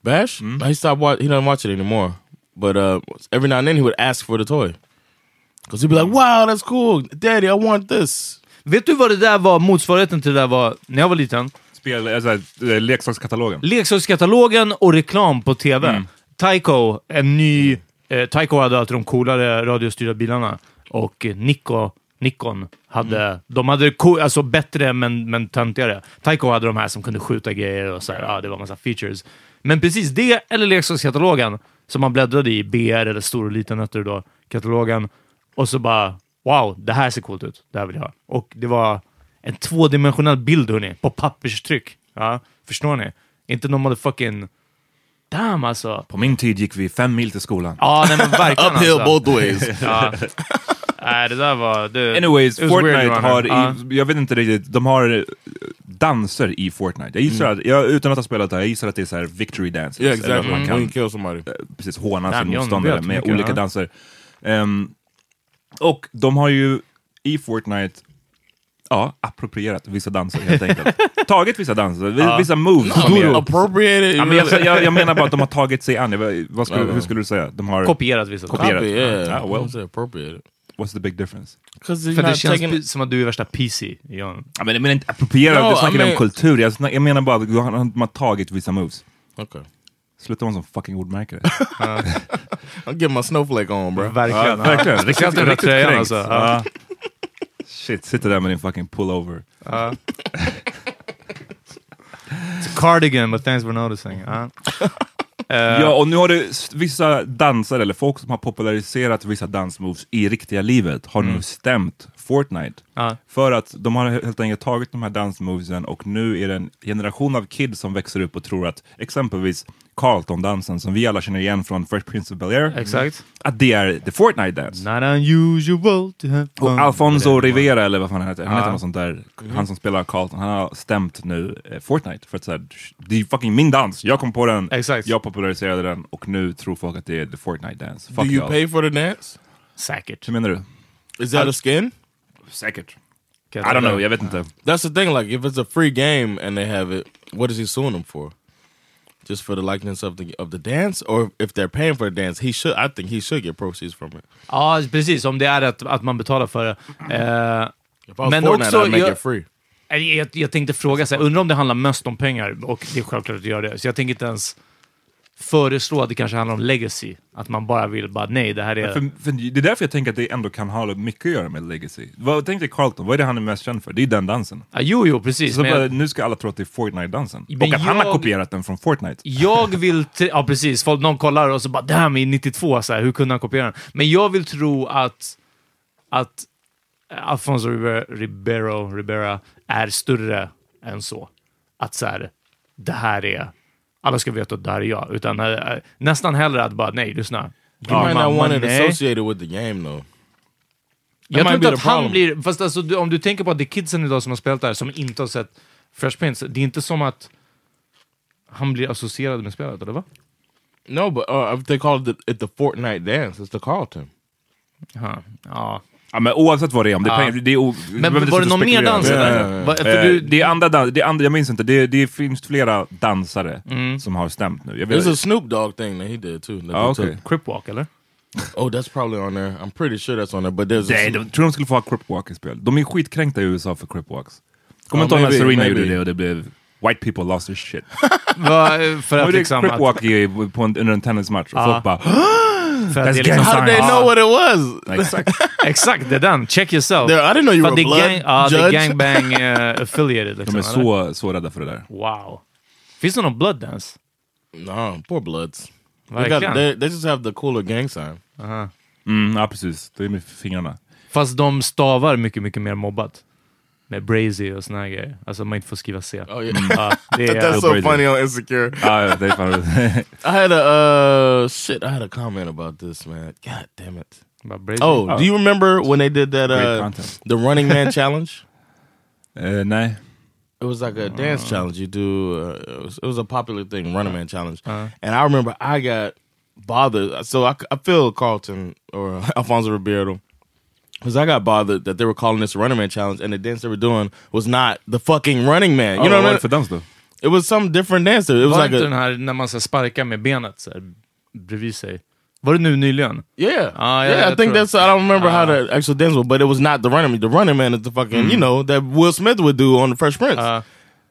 Speaker 1: Bash, he stopped watch. He doesn't watch it anymore. But uh, every now and then, he would ask for the toy because he'd be like, "Wow, that's cool, Daddy, I want this."
Speaker 3: Vet du vad det där var, motsvarigheten till det där var när jag var liten?
Speaker 2: Spel, alltså, eh, leksakskatalogen.
Speaker 3: Leksakskatalogen och reklam på TV. Tyco, en ny... Eh, Tyco hade alltid de coolare radiostyrda bilarna. Och eh, Nikko, Nikon hade... De hade co- alltså bättre men, men töntigare. Tyco hade de här som kunde skjuta grejer och så här, ja, det var massa features. Men precis det, eller leksakskatalogen, som man bläddrade i, BR eller Stor och Liten hette det då, katalogen. Och så bara, wow, det här ser coolt ut. Det här vill jag ha. Och det var en tvådimensionell bild, hörni, på papperstryck. Ja, förstår ni? Inte någon motherfucking... Damn alltså!
Speaker 2: På min tid gick vi fem mil till skolan.
Speaker 3: Ja, nej men verkligen
Speaker 1: Uphill
Speaker 3: alltså.
Speaker 1: both ways.
Speaker 3: Ja. Nej, det där var... Det,
Speaker 2: Anyways,
Speaker 3: it was weird
Speaker 2: Fortnite
Speaker 3: around
Speaker 2: har,
Speaker 3: here. Ja.
Speaker 2: i, jag vet inte riktigt, de har eh, danser i Fortnite. Jag gissar
Speaker 3: Mm.
Speaker 2: att, jag, utan att ha spelat det här, jag gissar att det är så här victory dances.
Speaker 1: yeah,
Speaker 2: Eller
Speaker 1: exactly.
Speaker 2: att man
Speaker 1: When
Speaker 3: Mm.
Speaker 2: kan
Speaker 1: you kill somebody,
Speaker 2: precis håna
Speaker 3: Damn,
Speaker 2: sin
Speaker 3: John
Speaker 2: motståndare
Speaker 3: vet
Speaker 2: med
Speaker 3: mycket,
Speaker 2: olika
Speaker 3: ja.
Speaker 2: danser. Ehm, och de har ju i Fortnite Ja, approprierat vissa danser helt enkelt. tagit vissa danser, vi- vissa moves. som är-
Speaker 1: appropriated.
Speaker 2: Ja,
Speaker 1: you
Speaker 2: men jag,
Speaker 1: really-
Speaker 2: jag, jag menar bara att de har tagit sig an, Jag vet- vad skulle, hur skulle du säga? De har
Speaker 3: Kopierat vissa
Speaker 2: Kopierat.
Speaker 1: Copy, yeah.
Speaker 2: Ah, well.
Speaker 1: I would say appropriated.
Speaker 2: What's the big difference?
Speaker 1: Because you're
Speaker 3: För det
Speaker 1: not
Speaker 3: känns
Speaker 1: taking.
Speaker 3: pi- som att du är värsta PC, John.
Speaker 2: Ja, men, men inte approprierat,
Speaker 1: No,
Speaker 2: jag snackar
Speaker 1: I mean-
Speaker 2: om kultur. Jag, snack, jag menar bara att de har, de har tagit vissa moves.
Speaker 1: Okay,
Speaker 2: Sluta vara en sån fucking ordmärkare.
Speaker 1: I'll get my snowflake on, bro.
Speaker 2: ja,
Speaker 3: Verkligen. Ja,
Speaker 2: verkligen. Riktigt,
Speaker 3: Skratta med
Speaker 2: riktigt
Speaker 3: tröjan
Speaker 2: kränkt.
Speaker 3: alltså.
Speaker 2: Ja. Shit, sitter där med din fucking pullover.
Speaker 3: Cardigan, but thanks for noticing. Ja. Eh,
Speaker 2: Ja, och nu har du s- vissa dansare, eller folk som har populariserat vissa dansmoves i riktiga livet, har nu stämt Fortnite.
Speaker 3: Ja.
Speaker 2: För att de har he- helt enkelt tagit de här dansmovesen och nu är det en generation av kids som växer upp och tror att exempelvis Carlton-dansen, som vi alla känner igen från Fresh Prince of Bel-Air,
Speaker 3: Exakt.
Speaker 2: att det är the Fortnite-dance.
Speaker 3: Not unusual to have
Speaker 2: Och
Speaker 3: fun.
Speaker 2: Alfonso Rivera, eller vad fan han heter, han heter något sånt där, han som spelar Carlton, han har stämt nu eh, Fortnite för att säga det är fucking min dans, jag kom på den,
Speaker 3: Exakt.
Speaker 2: jag populariserade den och nu tror folk att det är the Fortnite dance.
Speaker 1: Do
Speaker 2: Fuck
Speaker 1: you
Speaker 2: y'all.
Speaker 1: pay for the dance?
Speaker 3: Säkert.
Speaker 2: Hur menar du?
Speaker 1: Is that a skin?
Speaker 2: Säkert. I don't know, jag vet inte.
Speaker 1: That's the thing. Like, if it's a free game and they have it, what is he suing them for? Just for the likeness of the of the dance, or if they're paying for the dance, he should. I think he should get proceeds from it.
Speaker 3: Ja, precis. Om det är att, att man betalar för det. Eh,
Speaker 1: If I was
Speaker 3: Men
Speaker 1: Fortnite,
Speaker 3: också,
Speaker 1: I'd make
Speaker 3: jag-
Speaker 1: it free.
Speaker 3: jag, jag, jag tänkte fråga, så här, undrar om det handlar mest om pengar? Och det är självklart att det gör det. Så jag tänker inte ens föreslå att det kanske handlar om legacy. Att man bara vill bara, nej, det här är...
Speaker 2: För, för det är därför jag tänker att det ändå kan ha mycket att göra med legacy. Vad, tänk dig Carlton, vad är det han är mest känd för? Det är den dansen.
Speaker 3: Ja, jo, jo, precis.
Speaker 2: Så
Speaker 3: Men
Speaker 2: bara,
Speaker 3: jag,
Speaker 2: nu ska alla tro att det är Fortnite-dansen.
Speaker 3: Men
Speaker 2: Och att han har
Speaker 3: jag-
Speaker 2: kopierat den från Fortnite.
Speaker 3: jag vill... tr- Ja, precis. Folk, någon kollar och så bara, damn, i 92, så här, hur kunde han kopiera den? Men jag vill tro att, att Alfonso Ribe- Ribeiro, Ribera är större än så. Att så här, det här är, alla ska veta att det här är jag. Utan eh, nästan hellre att bara, nej, lyssna.
Speaker 1: You might not
Speaker 3: Mamma,
Speaker 1: want it
Speaker 3: nej.
Speaker 1: associated with the game though.
Speaker 3: Jag
Speaker 1: might
Speaker 3: tror
Speaker 1: be
Speaker 3: inte
Speaker 1: the
Speaker 3: att han
Speaker 1: problem.
Speaker 3: blir... Fast alltså, du, om du tänker på att det är kidsen idag som har spelat där som inte har sett Fresh Prince, det är inte som att han blir associerad med spelet, eller va?
Speaker 1: No, but uh, if they called it, it the Fortnite dance, it's the Carlton.
Speaker 3: Aha. Ja.
Speaker 2: Ja, men oavsett vad det är, om det är
Speaker 3: Ja.
Speaker 2: pengar, det är o- vi
Speaker 3: Men
Speaker 2: behöver
Speaker 3: var det
Speaker 2: inte
Speaker 3: någon mer
Speaker 2: spekulera.
Speaker 3: dans?
Speaker 1: Ja,
Speaker 3: eller?
Speaker 1: ja, ja, ja.
Speaker 3: Va- För
Speaker 2: Eh,
Speaker 3: du,
Speaker 2: det, är andra dans, det är andra, jag minns inte, det, det finns flera dansare
Speaker 3: Mm.
Speaker 2: som har stämt nu. Jag vet,
Speaker 1: There's a Snoop Dogg thing that he did too. that
Speaker 2: Ah,
Speaker 1: they
Speaker 2: okay.
Speaker 1: took.
Speaker 3: Cripwalk, eller?
Speaker 1: Oh, that's probably on there. I'm pretty sure that's on there. But there's a
Speaker 2: nej,
Speaker 1: Snoop-
Speaker 2: de, tror de skulle få ha cripwalk i spel. De är skitkränkta i USA för cripwalks. Kommer
Speaker 1: Ja,
Speaker 2: inte ihåg när
Speaker 1: maybe,
Speaker 2: Serena
Speaker 1: maybe.
Speaker 2: gjorde det och det blev White people lost their shit.
Speaker 3: Va, för
Speaker 2: Men
Speaker 3: att
Speaker 2: det är
Speaker 3: liksom... Att,
Speaker 2: cripwalk i- på en, under en tennismatch och
Speaker 3: Ja.
Speaker 2: folk bara
Speaker 3: för att det är
Speaker 2: That's
Speaker 3: liksom
Speaker 2: gangsta.
Speaker 1: How did they
Speaker 3: Ja,
Speaker 1: know what it was?
Speaker 2: Exakt.
Speaker 3: Exakt, det är den. Check yourself.
Speaker 1: There, I didn't know you
Speaker 3: För
Speaker 1: were
Speaker 3: att det
Speaker 1: a blood
Speaker 3: är gang, ja, det är
Speaker 1: judge.
Speaker 3: gangbang eh, affiliated. Liksom,
Speaker 2: De är
Speaker 3: eller?
Speaker 2: så, så rädda för det där.
Speaker 3: Wow. Finns det någon blood dance?
Speaker 1: No, poor bloods. They,
Speaker 3: Verkligen.
Speaker 1: got, they, they just have the cooler gang sign.
Speaker 2: Mm, ja, precis. Det är med fingrarna.
Speaker 3: Fast de stavar mycket, mycket mer mobbat. Med brazy och såna här grejer. Alltså man inte får skriva C.
Speaker 1: Oh yeah,
Speaker 2: Mm.
Speaker 3: Ja, det är,
Speaker 1: that's so
Speaker 2: crazy.
Speaker 1: funny on Insecure.
Speaker 2: Ah, ja, det är fan... Eh,
Speaker 1: I had a uh, shit. I had a comment about this, man. God damn it.
Speaker 3: Bara brazy.
Speaker 1: Oh,
Speaker 2: Oh.
Speaker 1: do you remember when they did that?
Speaker 2: Great
Speaker 1: Uh,
Speaker 2: content.
Speaker 1: the Running Man challenge.
Speaker 2: Eh, nej.
Speaker 1: It was
Speaker 2: Uh.
Speaker 1: like a dance challenge. You do. Uh, it, was, it was a popular thing, Running Man challenge.
Speaker 2: Uh.
Speaker 1: And I remember I got bothered. So I, I feel Carlton or Alfonso Ribeiro. Because I got bothered that they were calling this a Running Man challenge, and the dance they were doing was not the fucking Running Man. You
Speaker 2: Ah,
Speaker 1: know what
Speaker 2: vad är
Speaker 1: I
Speaker 2: det
Speaker 1: mean?
Speaker 2: för dans då?
Speaker 1: It was some different dancer. It was
Speaker 3: var
Speaker 1: like
Speaker 3: inte
Speaker 1: a
Speaker 3: den här när man ska sparka med benet så här, bredvid sig? Var det nu nyligen?
Speaker 1: Oh, Yeah.
Speaker 3: Ah, yeah,
Speaker 1: yeah, I
Speaker 3: that's
Speaker 1: think
Speaker 3: right.
Speaker 1: that's Uh-huh. I don't remember how the actual dance was, but it was not the running man. The running man is the fucking, you know, that Will Smith would do on the Fresh Prince.
Speaker 3: Ah.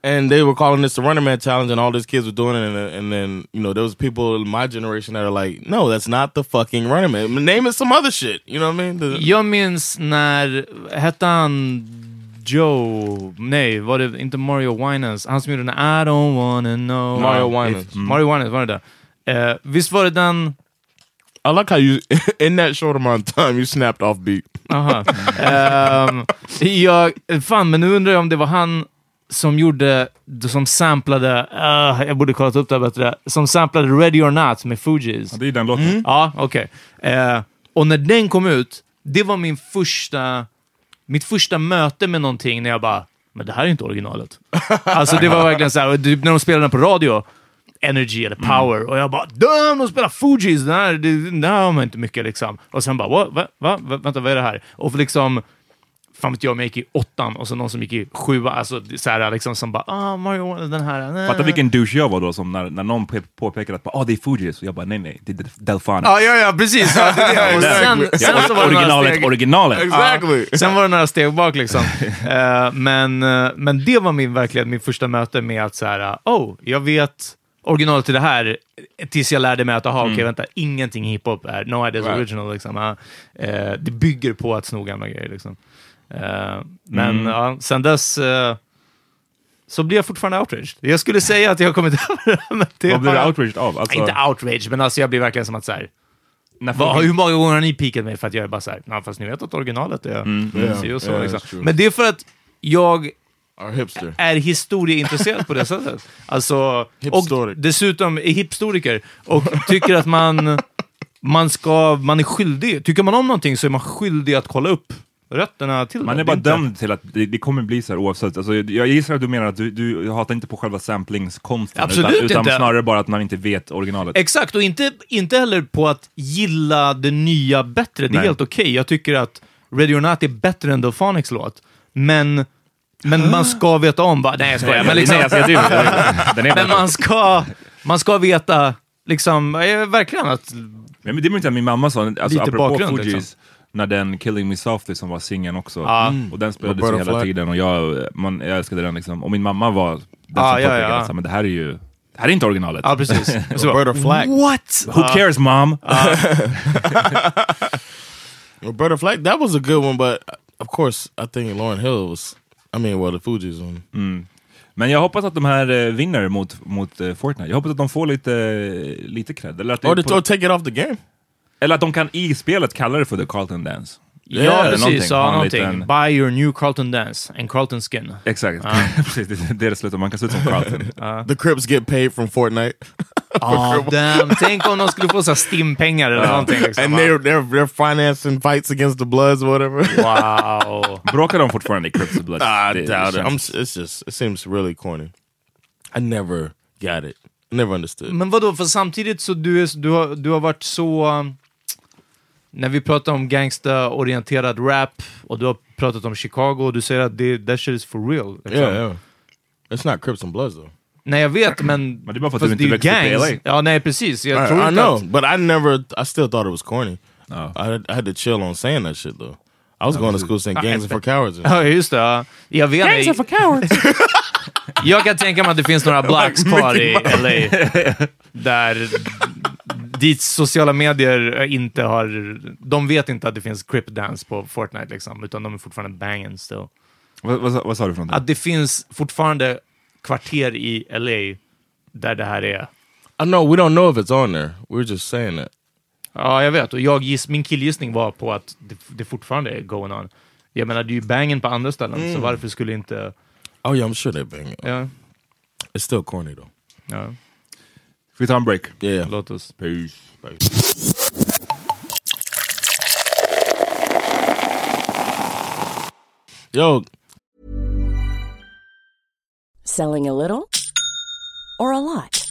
Speaker 1: and they were calling this the running man challenge and all these kids were doing it and, and then, you know, there was people in my generation that are like, "No, that's not the fucking running man. Name it some other shit." You know what I mean? The-
Speaker 3: Jag minns när, hette han Joe? Nej, var det inte Mario Winans? Han som gjorde den I don't wanna know.
Speaker 1: Mario
Speaker 3: If-
Speaker 1: Winans. Mm.
Speaker 3: Mario Winans, var det där? Eh, visst var det den?
Speaker 1: I like how you in that short amount of time you snapped off beat.
Speaker 3: Aha. Ehm, jag, fan, men nu undrar jag om det var han som gjorde, som samplade, ah, jag borde kollat upp det här bättre, som samplade Ready or Not med Fugees.
Speaker 2: Ja, det är den låten.
Speaker 3: Ja, okej. Eh, och när den kom ut, det var min första, mitt första möte med någonting när jag bara, men det här är inte originalet. alltså det var verkligen så här, och typ när de spelade den på radio, Energy eller Power, och jag bara damn, de spelar Fugees! Den här, det, den här har man inte mycket liksom. Och sen bara, va, va, va, va, vänta, vad är det här? Och liksom, fan vet jag om jag gick i åttan och så någon som gick i sjua, alltså så här liksom som bara, ah, Mario, den här, nej.
Speaker 2: Fatta vilken douche jag var då som när, när någon pe- påpekade att ah, det är Fugees och jag bara nej nej, det är Del- Delphonics.
Speaker 3: Ja, ja, ja, precis. Ja, det är det. Och sen,
Speaker 2: Ja, alltså,
Speaker 3: sen så var det några
Speaker 2: originalet,
Speaker 3: steg-
Speaker 2: originalet!
Speaker 1: Exactly.
Speaker 3: Ja. Sen var det några steg bak liksom. Eh, men, eh, men det var min, verkligen min första möte med att så här, eh, oh, jag vet originalet till det här, eh, tills jag lärde mig att, aha,
Speaker 2: Mm.
Speaker 3: okej, vänta, ingenting i hiphop är no ideas
Speaker 1: Right.
Speaker 3: original. Liksom. Ja. Eh, det bygger på att sno gamla grejer. Liksom. Eh, men
Speaker 2: Mm.
Speaker 3: ja, sen dess eh, så blir jag fortfarande outraged. Jag skulle säga att jag har kommit över det, men det.
Speaker 2: Vad blir
Speaker 3: har
Speaker 2: du
Speaker 3: jag-
Speaker 2: outraged av? Alltså,
Speaker 3: Inte outrage, men alltså jag blir verkligen som att så här,
Speaker 2: när
Speaker 3: vad,
Speaker 2: folk-
Speaker 3: hur många gånger har ni pikat mig för att jag är bara såhär, nah, fast ni vet att originalet är
Speaker 2: Mm.
Speaker 3: si och så.
Speaker 1: yeah, that's
Speaker 3: liksom.
Speaker 1: true.
Speaker 3: Men det är för att jag
Speaker 1: Our hipster.
Speaker 3: är historieintresserad på det sättet. Alltså, och
Speaker 1: Hipstoric.
Speaker 3: dessutom är hipstoriker och tycker att man, man, ska, man är skyldig. Tycker man om någonting så är man skyldig att kolla upp rötterna till
Speaker 2: Man
Speaker 3: det.
Speaker 2: är bara
Speaker 3: Det inte-
Speaker 2: dömd till att det, det kommer bli så här oavsett. Alltså, jag gissar att du menar att du, du hatar inte på själva samplingskonsten,
Speaker 3: Absolut
Speaker 2: utan, utan
Speaker 3: inte.
Speaker 2: snarare bara att man inte vet originalet.
Speaker 3: Exakt, och inte, inte heller på att gilla det nya bättre. Det är
Speaker 2: Nej.
Speaker 3: helt okej. Jag tycker att Ready or Not är bättre än Delphonics låt. Men, men man ska veta om... Bara, nej, jag skojar. Men, liksom,
Speaker 2: Nej, alltså, jag driver. Den är
Speaker 3: men man, ska, man ska veta... Liksom, eh, verkligen att...
Speaker 2: Ja, men det minns jag min mamma sa, alltså,
Speaker 3: Lite
Speaker 2: apropå
Speaker 3: bakgrund,
Speaker 2: Fugees,
Speaker 3: liksom. Ah. Mm.
Speaker 2: när den Killing Me Softly som var singeln också,
Speaker 3: Ja.
Speaker 2: och den spelades
Speaker 1: Roberta
Speaker 2: ju hela
Speaker 1: Flack.
Speaker 2: tiden och jag, man, jag älskade den liksom. Och min mamma var den
Speaker 3: Ah, Ja,
Speaker 2: som
Speaker 3: ja,
Speaker 2: påpekade
Speaker 3: ja.
Speaker 2: att så här, men det här är ju, det här är inte originalet.
Speaker 3: Ja, precis. Ah. Och så bara,
Speaker 1: Roberta Flack.
Speaker 3: What?
Speaker 2: Who cares mom?
Speaker 1: Roberta Flack, that was a good one, but uh, of course, I think Lauren Hill was. I mean, well, the Fugees one.
Speaker 2: Men jag hoppas att de här eh, vinner mot, mot eh, Fortnite. Jag hoppas att de får lite, eh, lite cred. Eller att, det
Speaker 1: Or,
Speaker 2: är
Speaker 1: they,
Speaker 2: på,
Speaker 1: or take it off the game.
Speaker 2: eller att de kan i spelet kalla det för The Carlton Dance.
Speaker 3: ja,
Speaker 2: eller någonting.
Speaker 3: precis. Ja,
Speaker 2: Ha en
Speaker 3: någonting.
Speaker 2: liten-
Speaker 3: Buy your new Carlton dance and Carlton skin.
Speaker 2: Exakt.
Speaker 3: Ah.
Speaker 2: Precis, det är det det slutar. Man kan se ut som Carlton.
Speaker 1: The Crips get paid from Fortnite,
Speaker 3: Ah, damn. Tänk om de skulle få så här stimpengar eller någonting. Liksom.
Speaker 1: and they're they're they're financing fights against the Bloods or whatever.
Speaker 3: Wow.
Speaker 2: Bråkar de fortfarande i Crips and Bloods?
Speaker 3: Ah,
Speaker 1: I
Speaker 2: Det
Speaker 1: doubt it.
Speaker 2: känns-
Speaker 1: I'm, it's just it seems really corny. I never got it. I never understood.
Speaker 3: Men vadå, för samtidigt så du, är, du, har, du har varit så... um, När vi pratar om gangsta-orienterad rap och du har pratat om Chicago och du säger att det, that shit is for real. liksom.
Speaker 1: Yeah, yeah. It's not Crips and Bloods though.
Speaker 3: Nej, jag vet, men...
Speaker 2: Men det är bara för
Speaker 3: fast
Speaker 2: att du inte
Speaker 3: är ju
Speaker 2: växte upp i
Speaker 3: gangs.
Speaker 2: LA.
Speaker 3: Ja, nej, precis. Jag tror
Speaker 1: I, I
Speaker 3: inte
Speaker 1: know,
Speaker 3: att...
Speaker 1: but I never. I still thought it was corny.
Speaker 2: Oh.
Speaker 1: I, had- I had to chill on saying that shit though. I was going to school saying gangs are for cowards. and-
Speaker 3: Ja, just det. ja. Jag vet Gangs are for cowards. jag kan tänka mig att det finns några blacks kvar i LA. Där... Dit sociala medier inte har... De vet inte att det finns crip dance på Fortnite, liksom, utan de är fortfarande banging still.
Speaker 2: Vad, vad, sa- vad sa du för någonting?
Speaker 3: Att det finns fortfarande kvarter i LA där det här är.
Speaker 1: I know we don't know if it's on there. We're just saying that.
Speaker 3: Ja, jag vet. Och jag giss, min killgissning var på att det, det fortfarande är going on. Jag menar, det är ju bangen på andra ställen, så varför skulle inte...
Speaker 1: Oh yeah, I'm sure they bang it.
Speaker 3: Ja,
Speaker 1: It's still corny though.
Speaker 3: ja, Ah.
Speaker 2: Ska vi ta en break?
Speaker 1: Yeah.
Speaker 3: låt oss.
Speaker 2: Peace.
Speaker 1: Yo,
Speaker 5: Selling a little or a lot?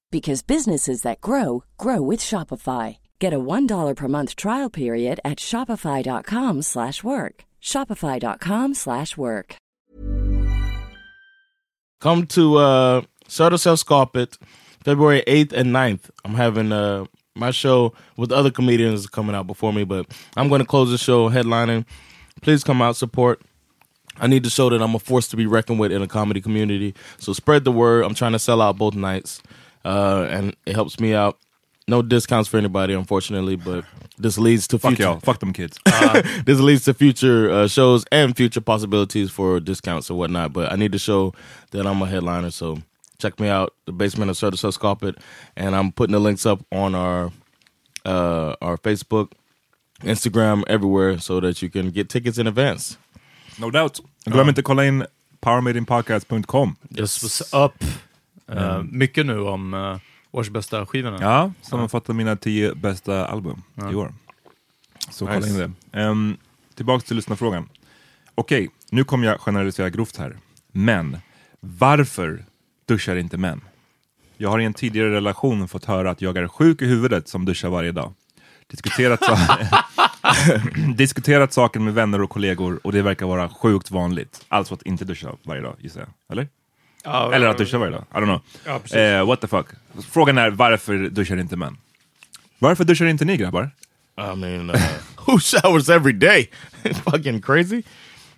Speaker 5: because businesses that grow grow with Shopify. Get a $1 per month trial period at shopify.com/work. slash work. shopify.com/work. slash work.
Speaker 1: come to uh Shutter Self Scarpet February 8th and 9th. I'm having uh my show with other comedians coming out before me, but I'm going to close the show headlining. Please come out support. I need to show that I'm a force to be reckoned with in a comedy community. So spread the word. I'm trying to sell out both nights, uh, and it helps me out. No discounts for anybody, unfortunately, but this leads to
Speaker 2: Fuck
Speaker 1: future
Speaker 2: y'all. Fuck them kids.
Speaker 1: this leads to future uh, shows and future possibilities for discounts and whatnot. But I need to show that I'm a headliner, so check me out. The basement of Soda Sus Carpet, and I'm putting the links up on our uh, our Facebook, Instagram, everywhere, so that you can get tickets in advance.
Speaker 2: No doubt. Glöm inte kolla in powermadingpodcast.com.
Speaker 3: This was up. Eh, mycket nu om uh, års bästa skivorna.
Speaker 2: Mm. Ja, sammanfattar mina tio bästa album i år. Så kolla in det. Ehm, tillbaks till lyssnarfrågan. Okej, nu kommer jag generalisera grovt här. Men, varför duschar inte män? Jag har i en tidigare relation fått höra att jag är sjuk i huvudet som duschar varje dag. Diskuterat, sa- Diskuterat saken med vänner och kollegor och det verkar vara sjukt vanligt. Alltså att inte duscha varje dag, gissar jag. Eller?
Speaker 3: Ja,
Speaker 2: Eller att duscha varje dag. I don't know.
Speaker 3: Ja, precis.
Speaker 2: Eh, what the fuck. Frågan är varför duschar inte män? Varför duschar inte ni grabbar?
Speaker 1: I mean, uh, who showers every day? Fucking crazy.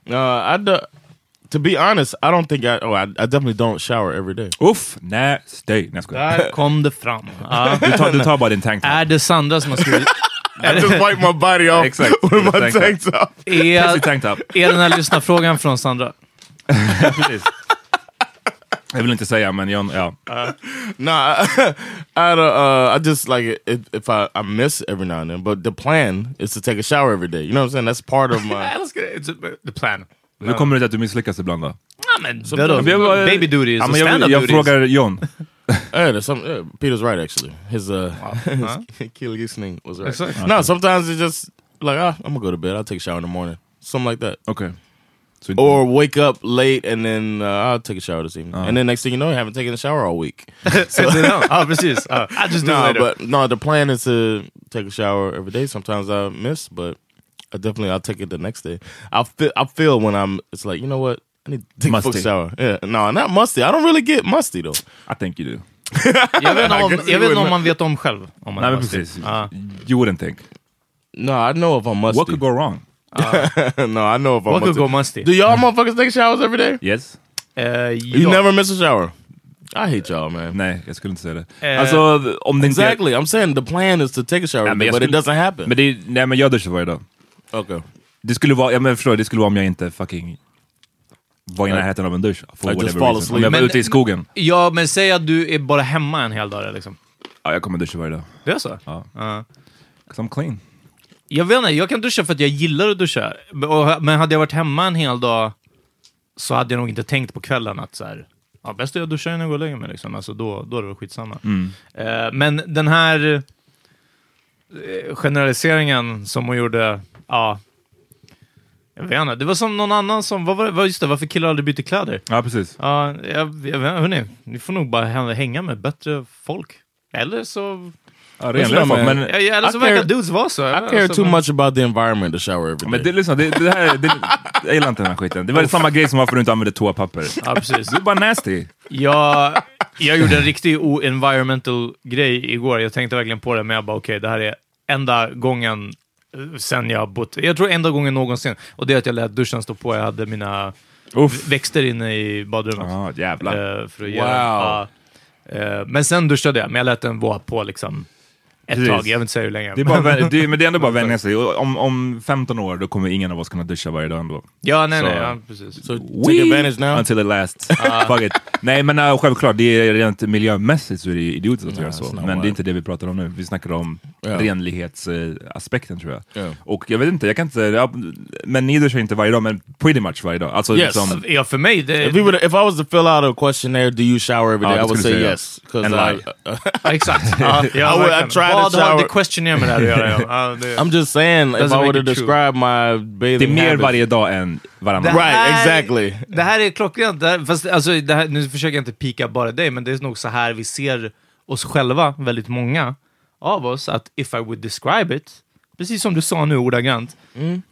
Speaker 1: Uh, I do, to be honest, I don't think I. Oh, I, I definitely don't shower every day.
Speaker 2: Uff, nej, stay. Nej jag skojar.
Speaker 3: Där kom det fram. Ja.
Speaker 2: Du tar, du tar bara din tank.
Speaker 3: Är det Sandra som har skrivit?
Speaker 1: I just wipe my body off
Speaker 2: Exactly.
Speaker 1: with my
Speaker 2: Thank you.
Speaker 1: tank top.
Speaker 2: Pussy
Speaker 3: Är,
Speaker 2: tank top.
Speaker 3: är den här lyssnarfrågan från Sandra?
Speaker 2: Ja, precis. Jag vill inte säga men jag, ja.
Speaker 1: Nah, I, I, don't, uh, I just like it, if- if I, I miss every now and then, but the plan is to take a shower every day. You know what I'm saying? That's part of my.
Speaker 3: älskar det. It's the plan.
Speaker 2: Nu kommer det att du misslyckas ibland då.
Speaker 3: Ja, men vadå?
Speaker 2: Jag vill bara-
Speaker 3: Baby duties
Speaker 2: Ja,
Speaker 3: och
Speaker 2: men jag,
Speaker 3: stand-up
Speaker 2: vill- jag
Speaker 3: duties.
Speaker 2: frågar John.
Speaker 1: Hey, there's some, yeah, Peter's right actually. His uh, his Keely Gisling was right. No, sometimes it's just like ah, I'm gonna go to bed. I'll take a shower in the morning, something like that,
Speaker 2: Okej. Så inte-
Speaker 1: or wake up late and then uh, I'll take a shower this evening, and then next thing you know, I haven't taken a shower all week.
Speaker 3: Ja, precis. Ja. I just do it
Speaker 1: no,
Speaker 3: later.
Speaker 1: but no, the plan is to take a shower every day. Sometimes I miss, but I definitely I'll take it the next day. I feel I feel when I'm it's like, you know what? I need to take
Speaker 2: Musty.
Speaker 1: a full shower. Yeah. No, not musty. I don't really get musty though.
Speaker 2: I think you do.
Speaker 3: Jag vet inte om, jag vet inte om man vet om själv. Om man
Speaker 2: Nej
Speaker 3: är
Speaker 2: men
Speaker 3: mastig.
Speaker 2: precis.
Speaker 3: Ja.
Speaker 2: You wouldn't think.
Speaker 1: No, I know if I'm musty.
Speaker 2: What could go wrong?
Speaker 1: no, I know if I'm.
Speaker 3: What could
Speaker 1: about
Speaker 3: go
Speaker 1: to-
Speaker 3: musty?
Speaker 1: Do y'all motherfuckers take showers every day?
Speaker 2: Yes?
Speaker 3: Eh,
Speaker 1: You
Speaker 3: ja.
Speaker 1: never miss a shower. I hate y'all, man.
Speaker 2: Nej, jag skulle inte säga det.
Speaker 3: Eh,
Speaker 2: alltså, om det inte...
Speaker 1: Exactly. I'm saying the plan is to take a shower,
Speaker 2: Ja, men
Speaker 1: but
Speaker 2: jag
Speaker 1: it
Speaker 2: skulle-
Speaker 1: doesn't happen.
Speaker 2: Men det, är- nej, men jag duschar varje dag.
Speaker 1: okay.
Speaker 2: Det skulle vara, ja, men förstår, du, det skulle vara om jag inte fucking var i
Speaker 1: Like-
Speaker 2: närheten av en dusch. For
Speaker 1: Like just
Speaker 2: whatever
Speaker 1: fall
Speaker 2: reason.
Speaker 1: asleep.
Speaker 2: Om jag var
Speaker 3: Men-
Speaker 2: ute i skogen,
Speaker 3: Ja, men säg att du är bara hemma en hel dag. Liksom.
Speaker 2: ja, jag kommer duscha varje dag.
Speaker 3: Det är så?
Speaker 2: Ja.
Speaker 3: Ja.
Speaker 2: 'Cause I'm clean.
Speaker 3: Jag vet inte, jag kan duscha för att jag gillar att duscha. Men- och- Men hade jag varit hemma en hel dag så hade jag nog inte tänkt på kvällen att så här, ja, bäst att jag duschar innan jag går och lägger mig. Liksom. Alltså, då, då är det väl skitsamma.
Speaker 1: Mm.
Speaker 3: Eh, men den här eh, generaliseringen som hon gjorde, ja. Jag vet inte, det var som någon annan som, vad var det, vad- just det, varför killar aldrig byter kläder?
Speaker 2: Ja, precis.
Speaker 3: Ja, jag, jag vet inte, hörni, ni får nog bara hä- hänga med bättre folk. Eller så...
Speaker 2: Ja, renliga folk. Men,
Speaker 3: Ja, ja, Eller så
Speaker 1: I
Speaker 3: verkar
Speaker 1: care-
Speaker 3: dudes vara så.
Speaker 1: I care
Speaker 3: Alltså,
Speaker 1: too
Speaker 3: men-
Speaker 1: much about the environment to shower every day.
Speaker 2: men det, lyssna, det, det här, det, jag gillar inte den här skiten. Det var samma grej som varför du inte använde toapapper.
Speaker 3: Ja, precis.
Speaker 2: Du är bara nasty.
Speaker 3: Jag, jag gjorde en riktig o-environmental grej igår. Jag tänkte verkligen på det, men jag bara okej, det här är enda gången eh, sen jag har bott... Jag tror enda gången någonsin. Och det är att jag lät duschen stå på. Jag hade mina
Speaker 2: Uff.
Speaker 3: växter inne i badrummet.
Speaker 2: Ja, jävlar.
Speaker 3: Eh, för att göra, ja. Eh, men sen duschade jag, men jag lät den vara på liksom ett
Speaker 2: Precis.
Speaker 3: tag. Jag vill inte säga hur länge.
Speaker 2: Det är bara, vän- det, är- men det är ändå bara att vänja sig. Och Om, om 15 år då kommer ingen av oss kunna duscha varje dag ändå.
Speaker 3: ja, nej,
Speaker 2: så-
Speaker 3: nej. Ja, precis.
Speaker 1: so take advantage now.
Speaker 2: Until it lasts. Fuck it. Nej men uh, självklart, det är rent miljömässigt så är det idiotiskt att göra så.
Speaker 1: it's
Speaker 2: Men
Speaker 1: not
Speaker 2: det är
Speaker 1: wild.
Speaker 2: inte det vi pratar om nu. Vi snackar om
Speaker 1: Ja.
Speaker 2: renlighetsaspekten tror jag.
Speaker 1: Ja.
Speaker 2: Och jag vet inte, jag kan inte... Ja, men ni duschar inte varje dag, men pretty much varje dag. Alltså
Speaker 1: Yes.
Speaker 2: liksom...
Speaker 3: Ja, för mig, det,
Speaker 1: If, we would, if I was to fill out a questionnaire, do you shower every
Speaker 2: Ja,
Speaker 1: day? I
Speaker 2: det
Speaker 1: would
Speaker 2: skulle
Speaker 1: say
Speaker 2: du
Speaker 1: yes.
Speaker 2: säga.
Speaker 1: 'cause
Speaker 2: En
Speaker 1: I-
Speaker 2: lie.
Speaker 3: ja, exakt. Ja, ja,
Speaker 1: I would- I
Speaker 3: verkligen.
Speaker 1: tried to
Speaker 3: Vad har
Speaker 1: shower-
Speaker 3: the questionnaire med det här att göra? Ja, Ja, det,
Speaker 1: I'm just saying, if
Speaker 3: Doesn't
Speaker 1: I
Speaker 3: make
Speaker 1: were to
Speaker 3: it true.
Speaker 1: describe my
Speaker 2: Det är
Speaker 1: bathing
Speaker 2: mer
Speaker 1: habits,
Speaker 2: varje dag än varannan.
Speaker 3: Det
Speaker 1: Right,
Speaker 3: här-
Speaker 1: exactly.
Speaker 3: Det här är klockrent. Det här, fast, alltså, det här, nu försöker jag inte pika bara dig, men det är nog så här vi ser oss själva, väldigt många av oss, att if I would describe it, precis som du sa nu ordagrant,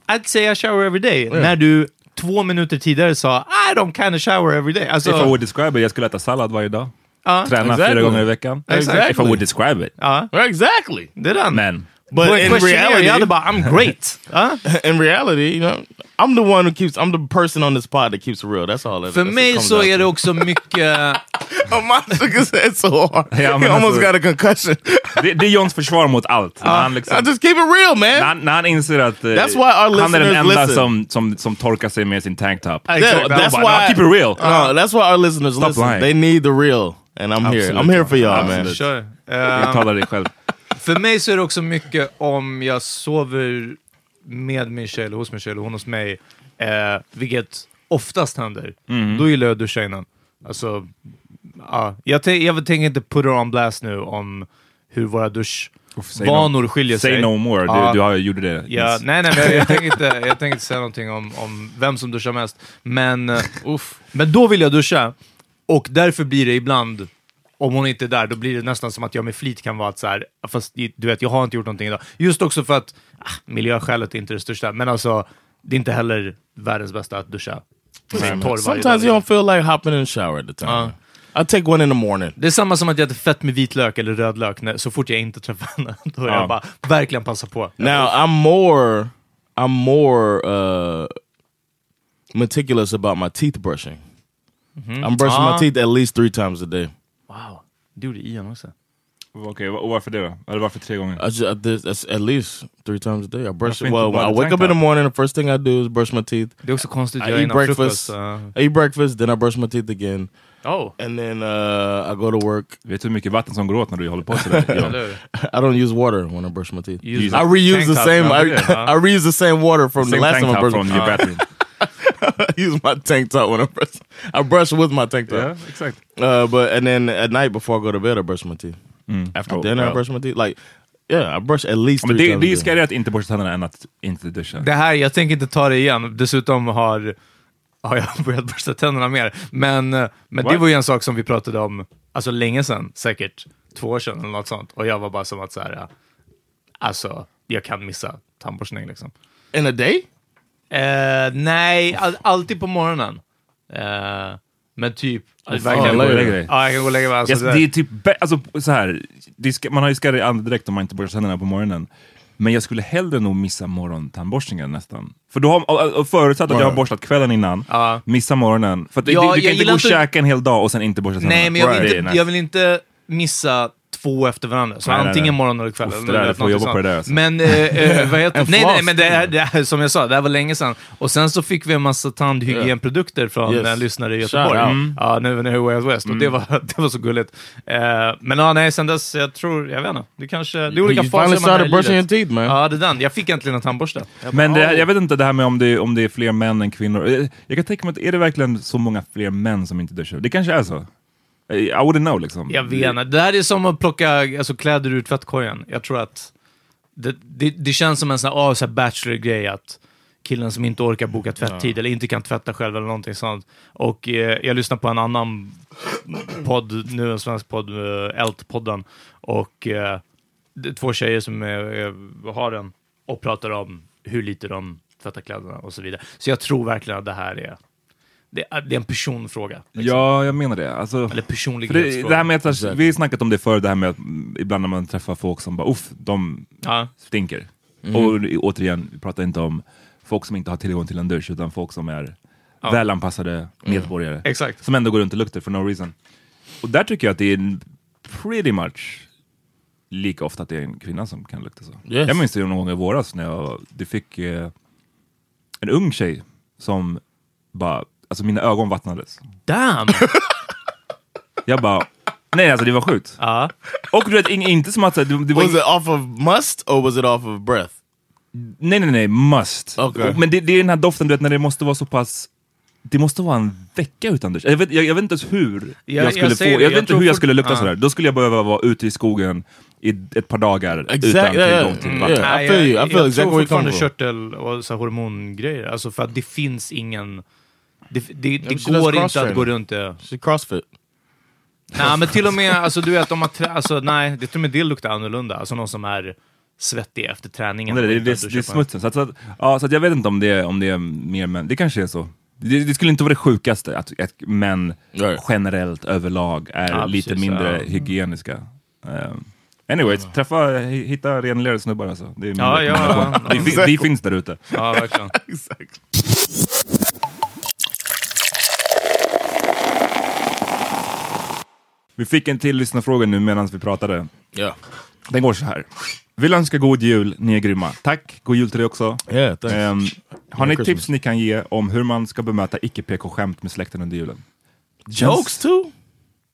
Speaker 3: I'd say I shower every day, när du två minuter tidigare sa I don't kind of shower every day. Alltså,
Speaker 2: If I would describe it, jag skulle äta sallad varje dag.
Speaker 3: Ja.
Speaker 2: Träna
Speaker 1: Oh. Exactly.
Speaker 2: fyra gånger i veckan.
Speaker 3: Exactly.
Speaker 2: If I would describe it.
Speaker 3: ja,
Speaker 1: exactly.
Speaker 3: det är den.
Speaker 2: Men...
Speaker 1: But
Speaker 3: På en
Speaker 1: in
Speaker 3: questionnaire,
Speaker 1: reality,
Speaker 3: jag hade bara I'm great. Ja?
Speaker 1: in reality, you know, I'm the one who keeps. I'm the person on this pod that keeps it real. That's all. That,
Speaker 3: För
Speaker 1: that's
Speaker 3: mig
Speaker 1: what
Speaker 3: Alltså, så är det
Speaker 1: comes
Speaker 3: också mycket...
Speaker 1: out. Oh, my nigga's head so hard.
Speaker 2: Yeah, I'm
Speaker 1: he
Speaker 2: an
Speaker 1: almost
Speaker 2: asshole.
Speaker 1: got a concussion.
Speaker 2: Det, det är Johns försvar mot allt. När han, liksom,
Speaker 1: I just keep it real, man.
Speaker 2: när han, när han inser att eh,
Speaker 1: That's why our
Speaker 2: han är den
Speaker 1: listeners
Speaker 2: enda
Speaker 1: listen.
Speaker 2: som, som, som torkar sig med sin tanktop.
Speaker 3: Ja,
Speaker 1: Yeah,
Speaker 3: exakt.
Speaker 2: Don't
Speaker 1: that's
Speaker 2: buy-
Speaker 1: why.
Speaker 2: no, keep it real.
Speaker 1: No, that's why our listeners
Speaker 2: Stop
Speaker 1: listen.
Speaker 2: lying.
Speaker 1: They need the real, and I'm here. I'm
Speaker 2: Absolutely.
Speaker 1: here for y'all, man.
Speaker 2: Absolutely.
Speaker 3: Kör.
Speaker 2: Jag talar dig själv.
Speaker 3: För mig så är det också mycket om jag sover med min tjej, eller hos min tjej, eller hon hos mig, eh, vilket oftast händer.
Speaker 2: Mm.
Speaker 3: Då gillar jag att duscha innan. Alltså, ja. jag, tän- jag tänker inte put her on blast nu om hur våra
Speaker 2: Say no-
Speaker 3: duschvanor skiljer sig.
Speaker 2: Say no more.
Speaker 3: Ja.
Speaker 2: Du, du har, gjorde det.
Speaker 3: Ja,
Speaker 2: Yes.
Speaker 3: nej, nej, men jag tänker inte, jag tänker inte säga någonting om, om vem som duschar mest. Men, eh, uff, men då vill jag duscha. Och därför blir det ibland, om hon inte är där, då blir det nästan som att jag med flit kan vara att så här, fast i- du vet, jag har inte gjort någonting idag. Just också för att ah, miljöskälet är inte det största, men alltså det är inte heller världens bästa att duscha. Det är torr varje dag,
Speaker 1: Sometimes you
Speaker 3: liksom.
Speaker 1: don't feel like hopping in the shower at the time.
Speaker 2: Uh.
Speaker 1: I take one in the morning.
Speaker 3: Det är samma som att jag äter fett med vitlök eller rödlök när, så fort jag inte träffar henne. Då är jag bara, verkligen passa på.
Speaker 1: Now I'm more, I'm more uh, meticulous about my teeth brushing.
Speaker 2: Mm-hmm.
Speaker 1: I'm brushing
Speaker 3: Ah.
Speaker 1: my teeth at least three times a day.
Speaker 3: Wow, det gjorde Ian också.
Speaker 2: Okej, va- och varför det då? Eller varför tre gånger?
Speaker 1: I just, I did, that's at least three times a day. I brush.
Speaker 2: That's been
Speaker 1: Well,
Speaker 2: about
Speaker 1: when I
Speaker 2: the
Speaker 1: wake
Speaker 2: tank
Speaker 1: up in the
Speaker 2: top.
Speaker 1: morning, the first thing I do is brush my teeth.
Speaker 3: Det är också konstigt att
Speaker 1: I
Speaker 3: göra
Speaker 1: eat
Speaker 3: innan
Speaker 1: breakfast.
Speaker 3: frukost. ja.
Speaker 2: uh.
Speaker 1: I eat breakfast, then I brush my teeth again,
Speaker 3: Oh.
Speaker 1: and then uh, I go to work.
Speaker 2: Vet du hur mycket vatten som går åt när du håller på sådär? ja.
Speaker 1: I don't use water when I brush my teeth.
Speaker 3: Use
Speaker 1: I
Speaker 3: the
Speaker 1: reuse
Speaker 3: tank
Speaker 1: the
Speaker 3: top,
Speaker 1: same.
Speaker 3: not
Speaker 1: I,
Speaker 3: the-
Speaker 1: I reuse the same water from the
Speaker 2: Same
Speaker 1: last time I
Speaker 2: tank top
Speaker 1: brushed.
Speaker 2: from your bathroom.
Speaker 1: I use my tank top when I brush. I brush with my tank top.
Speaker 2: Ja, exakt.
Speaker 1: Uh, but and then at night before I go to bed, I brush my teeth. After
Speaker 2: Oh,
Speaker 1: dinner,
Speaker 2: wow.
Speaker 1: I brush my teeth. Like, yeah, I brush at least
Speaker 2: Men
Speaker 1: three
Speaker 2: det,
Speaker 1: times.
Speaker 2: det är
Speaker 1: a day.
Speaker 2: skärigare att inte borsta tänderna än att inte duscha.
Speaker 3: Det här, jag tänker inte ta det igen. Dessutom har, har jag börjat borsta tänderna mer. Men, eh, men det
Speaker 2: What?
Speaker 3: var ju en sak som vi pratade om alltså länge sedan, säkert två år sedan eller något sånt. Och jag var bara som att så här, eh, alltså, jag kan missa tandborstning liksom.
Speaker 1: in a day.
Speaker 3: Eh, nej, all, alltid på morgonen. Eh, men typ...
Speaker 2: Fan,
Speaker 3: verkligen-
Speaker 2: gå och lägg dig.
Speaker 3: Ja, jag kan gå och lägga mig. Alltså,
Speaker 2: Yes,
Speaker 3: det-
Speaker 2: det är typ bä- alltså, så här, det ska, man har ju skärrig andedräkt om man inte borstar tänderna på morgonen. Men jag skulle hellre nog missa morgontandborstningen nästan. För då har, och- och förutsatt att jag har borstat kvällen innan,
Speaker 3: Ja.
Speaker 2: missa morgonen. För att
Speaker 3: Ja,
Speaker 2: du, du
Speaker 3: jag
Speaker 2: kan inte
Speaker 3: gillar
Speaker 2: gå och
Speaker 3: inte-
Speaker 2: käka en hel dag och sen inte borsta tänderna.
Speaker 3: Nej, men jag vill,
Speaker 2: Right.
Speaker 3: inte, jag vill inte missa två efter varandra. Så
Speaker 2: Nej, nej,
Speaker 3: antingen
Speaker 2: nej.
Speaker 3: morgon eller kväll.
Speaker 2: Uff,
Speaker 3: eller
Speaker 2: det där,
Speaker 3: något
Speaker 2: du får jobba
Speaker 3: sånt.
Speaker 2: på det där, alltså.
Speaker 3: Men, eh, eh, vad heter Nej, nej,
Speaker 1: floss.
Speaker 3: men det här, det här, som jag sa, det här var länge sedan. Och sen så fick vi en massa tandhygienprodukter från
Speaker 1: Yes.
Speaker 3: en lyssnare i
Speaker 1: Shout
Speaker 3: Göteborg.
Speaker 1: out.
Speaker 3: Mm. Ja, nu, nu Way Out West. Och det
Speaker 2: Mm.
Speaker 3: var, det var så gulligt. Eh, men ja, nej, sen dess, jag tror, jag vet inte. Det kanske, det är olika
Speaker 1: You finally
Speaker 3: faser man har i
Speaker 1: started brushing your
Speaker 3: livet.
Speaker 1: teeth man.
Speaker 3: Ja, det är den. Jag fick äntligen en tandborste.
Speaker 2: Men det, jag vet inte det här med om det, om det är fler män än kvinnor. Eh, Jag kan tänka mig, att är det verkligen så många fler män som inte duschar? Det kanske är så. Eh, I wouldn't know liksom.
Speaker 3: Jag vet inte. Det här är som att plocka alltså, kläder ur tvättkorgen. Jag tror att det, det, det känns som en sån här, ah, så här bachelor-grej att killen som inte orkar boka tvätttid eller inte kan tvätta själv eller någonting sånt. Och eh, jag lyssnar på en annan podd nu, en svensk podd, eh, Ält-podden. Och eh, det är två tjejer som eh, eh, har den och pratar om hur lite de tvättar kläderna och så vidare. Så jag tror verkligen att det här är, det är, det är en personfråga. Liksom.
Speaker 2: Ja, jag menar det. Alltså,
Speaker 3: Eller
Speaker 2: för det,
Speaker 3: personlighetsfråga.
Speaker 2: det här med att, Vi har snackat om det förr, det här med att mm, ibland när man träffar folk som bara uff, de
Speaker 3: ja.
Speaker 2: stinker. Och i- återigen, vi pratar inte om folk som inte har tillgång till en dusch, utan folk som är välanpassade medborgare.
Speaker 3: Exakt.
Speaker 2: Som ändå går runt och luktar for no reason. Och där tycker jag att det är en- pretty much lika ofta att det är en kvinna som kan lukta så.
Speaker 1: Yes.
Speaker 2: Jag minns det någon gång i våras när jag du fick eh, en ung tjej som bara, alltså mina ögon vattnades.
Speaker 3: Damn!
Speaker 2: Jag bara, nej alltså det var sjukt.
Speaker 3: Ja.
Speaker 2: Och du vet, in, inte som att så här, det, det var
Speaker 1: Was it off of must or was it off of breath?
Speaker 2: Nej, nej, nej. Must.
Speaker 1: Okej.
Speaker 2: Men det, det är den här doften, du vet, när det måste vara så pass... Det måste vara en vecka utan dusch. Jag vet, jag, jag vet inte ens hur jag,
Speaker 3: jag
Speaker 2: skulle få...
Speaker 3: säger
Speaker 2: Jag,
Speaker 3: det, jag
Speaker 2: vet inte
Speaker 3: tror
Speaker 2: hur jag
Speaker 3: fort-
Speaker 2: skulle lukta
Speaker 3: Ah.
Speaker 2: sådär. Då skulle jag behöva vara ute i skogen i ett par dagar utan
Speaker 1: Exactly. Yeah,
Speaker 2: tillgång till
Speaker 1: yeah.
Speaker 3: Mm,
Speaker 2: vatten.
Speaker 1: I feel you. I feel
Speaker 3: jag
Speaker 1: exactly where
Speaker 3: tror
Speaker 1: you come
Speaker 3: fortfarande
Speaker 1: from.
Speaker 3: körtel och så här hormongrejer. Alltså för att det finns ingen... Det, det,
Speaker 1: men
Speaker 3: det
Speaker 1: she does
Speaker 3: går inte att
Speaker 1: cross-training.
Speaker 3: gå runt det.
Speaker 1: She CrossFit.
Speaker 3: Nej, men till och med, alltså du vet, om man trä, alltså, nej, det till och med det luktar annorlunda. Alltså någon som är svettig efter träningen.
Speaker 2: Nej, det, det,
Speaker 3: Utan
Speaker 2: det,
Speaker 3: att
Speaker 2: det är
Speaker 3: duscha på en-
Speaker 2: smutsen. Så, att, så, att, ja, så att jag vet inte om det, är- om det är mer män. Det kanske är så. Det, det skulle inte vara det sjukaste att, att män
Speaker 1: Right.
Speaker 2: generellt överlag är
Speaker 3: Ja,
Speaker 2: lite
Speaker 3: precis,
Speaker 2: mindre
Speaker 3: ja.
Speaker 2: hygieniska. Um, anyways, träffa, hi- hitta renlärare snubbar alltså. Det är min
Speaker 3: Ja, ja,
Speaker 2: rekommendation.
Speaker 3: ja.
Speaker 2: Det, fin- det finns där ute.
Speaker 3: Ja, verkligen.
Speaker 2: Vi fick en till lyssnarfråga nu medan vi pratade.
Speaker 1: Yeah.
Speaker 2: Den går så här. Vill önska god jul, ni är grymma. Tack, god jul till dig också.
Speaker 1: Yeah, thanks.
Speaker 2: Ehm, har ni
Speaker 1: Christmas.
Speaker 2: tips ni kan ge om hur man ska bemöta icke-PK-skämt med släkten under julen?
Speaker 1: Jokes too?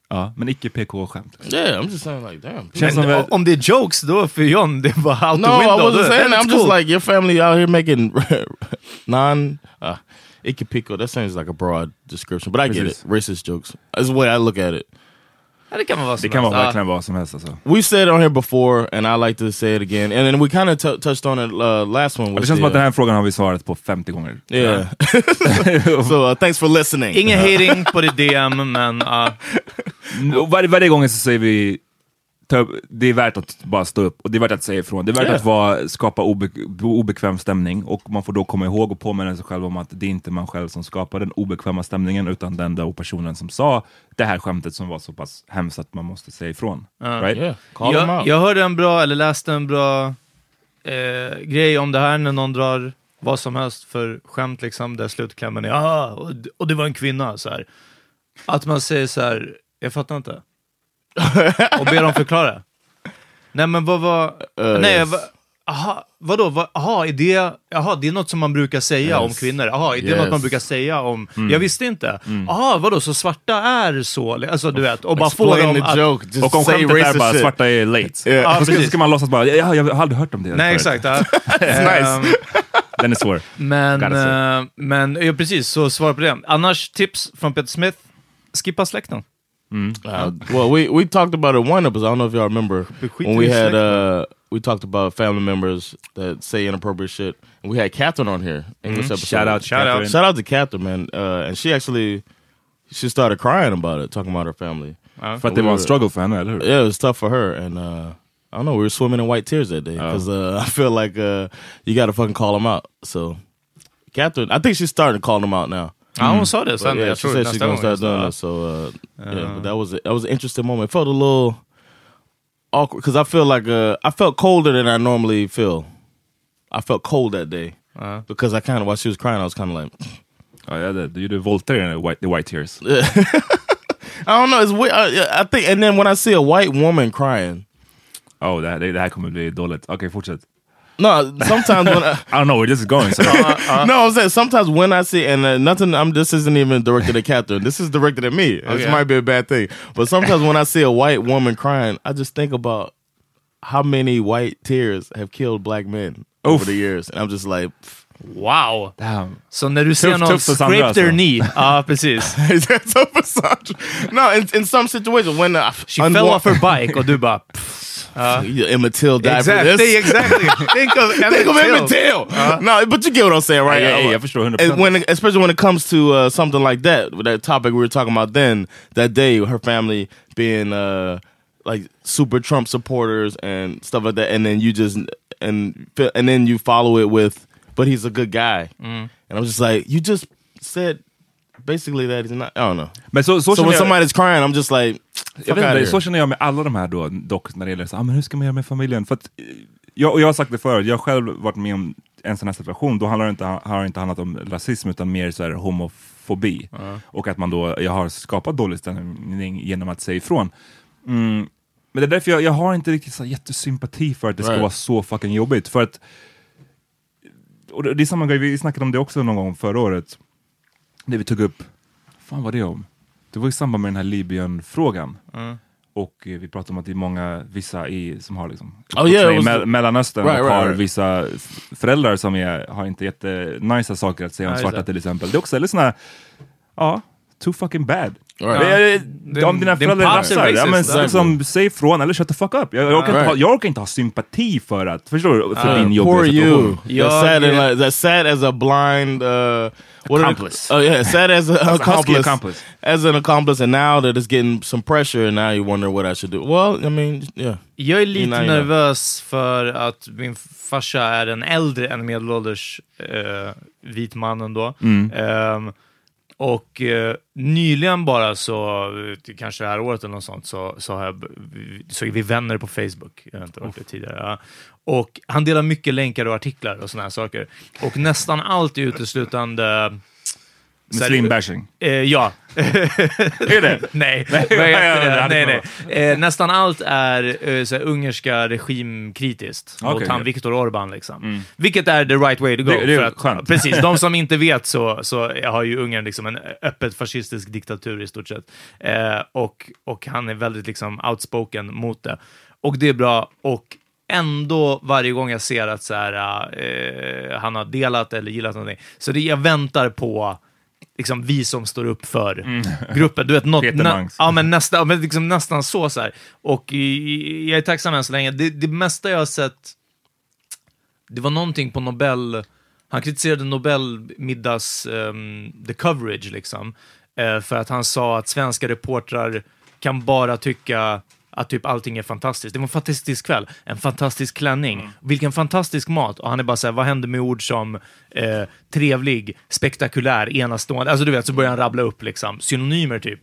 Speaker 2: Ja, men icke PK-skämt.
Speaker 1: Yeah, I'm just saying like damn.
Speaker 2: Känns som
Speaker 3: Men,
Speaker 2: att-
Speaker 3: om det är jokes då för John, det är bara out
Speaker 1: No,
Speaker 3: the window.
Speaker 1: I wasn't
Speaker 3: Då-
Speaker 1: saying that.
Speaker 3: that's
Speaker 1: I'm just
Speaker 3: cool.
Speaker 1: like your family out here making non uh, Ikipico. That sounds like a broad description, but I get it.
Speaker 2: Racist.
Speaker 1: Racist jokes. That's the way I look at it.
Speaker 3: Ja, det kan man vara
Speaker 2: Det kan vara verkligen vad som helst alltså.
Speaker 1: We said it on here before, and I like to say it again. And then we kind of touched on it uh, last one.
Speaker 2: Det
Speaker 1: with
Speaker 2: känns som
Speaker 1: the,
Speaker 2: att den här frågan har vi svarat på 50 gånger.
Speaker 1: Yeah. so uh, thanks for listening.
Speaker 3: Ingen hating på ditt DM, men ja.
Speaker 2: Och Varje, varje gång så säger vi ta upp- det är värt att bara stå upp och det är värt att säga ifrån. Det är värt
Speaker 1: Yeah.
Speaker 2: att vara, skapa obe, obekväm stämning och man får då komma ihåg och påminna sig själv om att det är inte man själv som skapar den obekväma stämningen utan den där personen som sa det här skämtet som var så pass hemskt att man måste säga ifrån. right?
Speaker 1: Yeah, call them
Speaker 3: jag,
Speaker 1: out.
Speaker 3: jag hörde en bra, eller läste en bra eh, grej om det här när någon drar vad som helst för skämt liksom, där slutklämmen är ah, och, d- och det var en kvinna så här. Att man säger så här, jag fattar inte. och ber dem förklara. Nej men vad var, nej
Speaker 1: Oh, yes.
Speaker 3: va, aha, vadå, va, aha, är det, aha, det är något som man brukar säga om
Speaker 1: Yes.
Speaker 3: kvinnor, aha, är det något
Speaker 1: Yes. Mm.
Speaker 3: man brukar säga om, jag visste inte. Aha, vadå, så svarta är så, alltså du vet, och bara få
Speaker 1: Explain
Speaker 3: dem
Speaker 1: the
Speaker 3: att
Speaker 1: joke. Just
Speaker 2: Och om
Speaker 1: say
Speaker 2: skämtet är
Speaker 1: racist
Speaker 2: bara
Speaker 1: shit.
Speaker 2: svarta är late.
Speaker 1: Yeah.
Speaker 2: Så, ska,
Speaker 3: precis.
Speaker 2: så ska man låtsas bara, ja, jag har aldrig hört om det.
Speaker 3: Nej,
Speaker 2: förut."
Speaker 3: exakt. Ja.
Speaker 2: It's
Speaker 1: Um,
Speaker 2: nice. Den är svår.
Speaker 3: Men,
Speaker 2: Gotta say.
Speaker 3: eh, men ja, precis, så svar på det. Annars tips från Peter Smith, skippa släkten.
Speaker 1: Uh, well, we we talked about it one episode. I don't know if y'all remember when we had uh, we talked about family members that say inappropriate shit. And we had Catherine on here. English episode.
Speaker 2: Shout out, shout out.
Speaker 1: shout out to Catherine, man. Uh, and she actually she started crying about it, talking about her family.
Speaker 2: För att det var en struggle för henne, eller hur?
Speaker 1: Yeah, it was tough for her, and uh, I don't know. We were swimming in white tears that day because uh, I feel like uh, you got to fucking call them out. So, Catherine, I think she's starting to call them out now.
Speaker 3: Ja, hon sa det sen.
Speaker 1: But yeah,
Speaker 3: jag
Speaker 1: she
Speaker 3: tror
Speaker 1: said she's
Speaker 3: nästa
Speaker 1: gonna
Speaker 3: gång.
Speaker 1: start doing that. So uh, yeah, but that was a, that was an interesting moment. It felt a little awkward because I feel like uh, I felt colder than I normally feel I felt cold that day because I kind of while she was crying, I was kind of like,
Speaker 2: Ja, jag hade, du gjorde volter i den där white, the white tears.
Speaker 1: I don't know. It's weird. I, I think, and then when I see a white woman crying,
Speaker 2: Oh, det, här, det, det här kommer bli dåligt. Okej, fortsätt.
Speaker 1: no, sometimes when I,
Speaker 2: I don't know where this is going. So.
Speaker 3: Uh-uh.
Speaker 1: no, I'm saying sometimes when I see and uh, nothing, I'm this isn't even directed at Catherine. This is directed at me. This
Speaker 3: Okay.
Speaker 1: might be a bad thing, but sometimes when I see a white woman crying, I just think about how many white tears have killed black men over the years, and I'm just like,
Speaker 3: Wow!
Speaker 2: Damn.
Speaker 3: Så när du ser
Speaker 2: Tufft-
Speaker 3: någon
Speaker 2: tufft för Sandra
Speaker 3: scrape their
Speaker 2: alltså.
Speaker 3: knee, ja precis.
Speaker 1: that's so massage. No, in, in some situations when uh,
Speaker 3: She fell off her bike och du bara... pff. Ja.
Speaker 1: Emmett Till died for
Speaker 3: Exactly,
Speaker 1: this.
Speaker 3: exactly. Think of Emmett
Speaker 1: Think of Emmett
Speaker 3: Till.
Speaker 1: Till. No, but you get what I'm saying, right?
Speaker 2: Uh-huh. Yeah, yeah, yeah,
Speaker 1: Uh,
Speaker 2: for sure, 100%.
Speaker 1: and When, especially when it comes to uh, something like that, with that topic we were talking about then, that day, her family being uh, like super Trump supporters and stuff like that, and then you just and fi- and then you follow it with, but he's a good guy,
Speaker 2: Mm-hmm.
Speaker 1: and I'm just like, you just said basically that he's not. I don't know.
Speaker 2: Men så, så,
Speaker 1: So
Speaker 2: känner
Speaker 1: when
Speaker 2: jag,
Speaker 1: somebody's crying, I'm just like,
Speaker 2: jag
Speaker 1: fuck
Speaker 2: vet
Speaker 1: outta
Speaker 2: inte, så
Speaker 1: here.
Speaker 2: känner jag med alla de här då, dock, när det gäller så, ah, men hur ska man göra med familjen? För att, eh, jag, och jag har sagt det förut, jag har själv varit med om en sån här situation, då handlar det inte, har det inte handlat om rasism utan mer så här homofobi. Och att man då, jag har skapat dålig stämning genom att säga ifrån. Mm. Men det är därför jag, jag har inte riktigt så här jättesympati för att det ska
Speaker 1: Right.
Speaker 2: vara så fucking jobbigt. För att, och det, det är samma grej, vi snackade om det också någon gång förra året, när vi tog upp, fan var det om? Det var i samband med den här Libyen-frågan. Och eh, vi pratade om att det är många, vissa i, som har liksom,
Speaker 1: Oh, yeah,
Speaker 2: uppvuxna
Speaker 1: it was the-
Speaker 2: i me Mellanöstern
Speaker 1: Right,
Speaker 2: och
Speaker 1: right,
Speaker 2: har
Speaker 1: right.
Speaker 2: vissa f- föräldrar som är, har inte jättenajsa saker att säga om
Speaker 3: Ja, just
Speaker 2: svarta
Speaker 3: det.
Speaker 2: till exempel. Det är också eller såna, ja, too fucking bad.
Speaker 1: Right.
Speaker 2: Det är, om
Speaker 3: Din-
Speaker 2: dina
Speaker 3: din
Speaker 2: föräldrar
Speaker 3: pops är
Speaker 2: rassar, ja, men,
Speaker 3: racist,
Speaker 2: så- liksom, säg ifrån eller shut the fuck up. Jag, jag, orkar, inte
Speaker 1: Right.
Speaker 2: ha, jag orkar inte ha sympati för att, förstår du, för din
Speaker 1: Poor
Speaker 2: jobbiga
Speaker 1: Uh, you.
Speaker 2: situation.
Speaker 1: That's
Speaker 3: Yeah,
Speaker 1: sad, and
Speaker 3: yeah.
Speaker 1: like, that's sad as a blind uh, what are they-
Speaker 2: Accomplice.
Speaker 1: Oh yeah, sad as an
Speaker 2: husky
Speaker 1: accomplice,
Speaker 2: accomplice.
Speaker 1: as an accomplice, and now that it's getting some pressure, and now you wonder what I should do. Well, I mean, yeah,
Speaker 3: Jag är lite
Speaker 1: Innan jag-
Speaker 3: nervös för att min farsa är en äldre än medelålders eh, vit man ändå.
Speaker 1: Mm.
Speaker 3: Ehm, och eh, nyligen bara så, eh, kanske det här året eller något sånt, så, så, har jag, så är vi vänner på Facebook. Jag har inte varit det tidigare. Ja. Och han delar mycket länkar och artiklar och såna här saker. Och nästan allt är uteslutande...
Speaker 2: Muslimbashing.
Speaker 3: Eh, ja.
Speaker 2: Är det?
Speaker 3: Nej,
Speaker 2: vad
Speaker 3: nej,
Speaker 2: heter det?
Speaker 3: nej.
Speaker 2: Hade
Speaker 3: nej,
Speaker 2: kunnat
Speaker 3: Eh, nästan allt är eh, såhär, ungerska regimkritiskt mot
Speaker 2: Okej. Mm.
Speaker 3: han Viktor Orban. Liksom. Vilket är the right way to go.
Speaker 2: Det- det är
Speaker 3: för
Speaker 2: skönt.
Speaker 3: Precis, de som inte vet så, så har ju Ungern liksom en öppet fascistisk diktatur i stort sett. Eh, och, och han är väldigt liksom outspoken mot det. Och det är bra. Och ändå varje gång jag ser att så här, eh, han har delat eller gillat någonting, så det, jag väntar på liksom vi som står upp för gruppen. Du vet, något,
Speaker 2: Mm. Peter
Speaker 3: nä,
Speaker 2: Mangs.
Speaker 3: ja, men nästa, ja, men liksom nästan så. så här. Och i, i, jag är tacksam än så länge. Det, det mesta jag har sett, det var någonting på Nobel, han kritiserade Nobelmiddags, ehm, the coverage liksom, eh, för att han sa att svenska reportrar kan bara tycka att typ allting är fantastiskt. Det var en fantastisk kväll, en fantastisk klänning, vilken fantastisk mat. Och han är bara såhär, vad händer med ord som eh, trevlig, spektakulär, enastående? Alltså du vet, så börjar han rabbla upp liksom synonymer typ.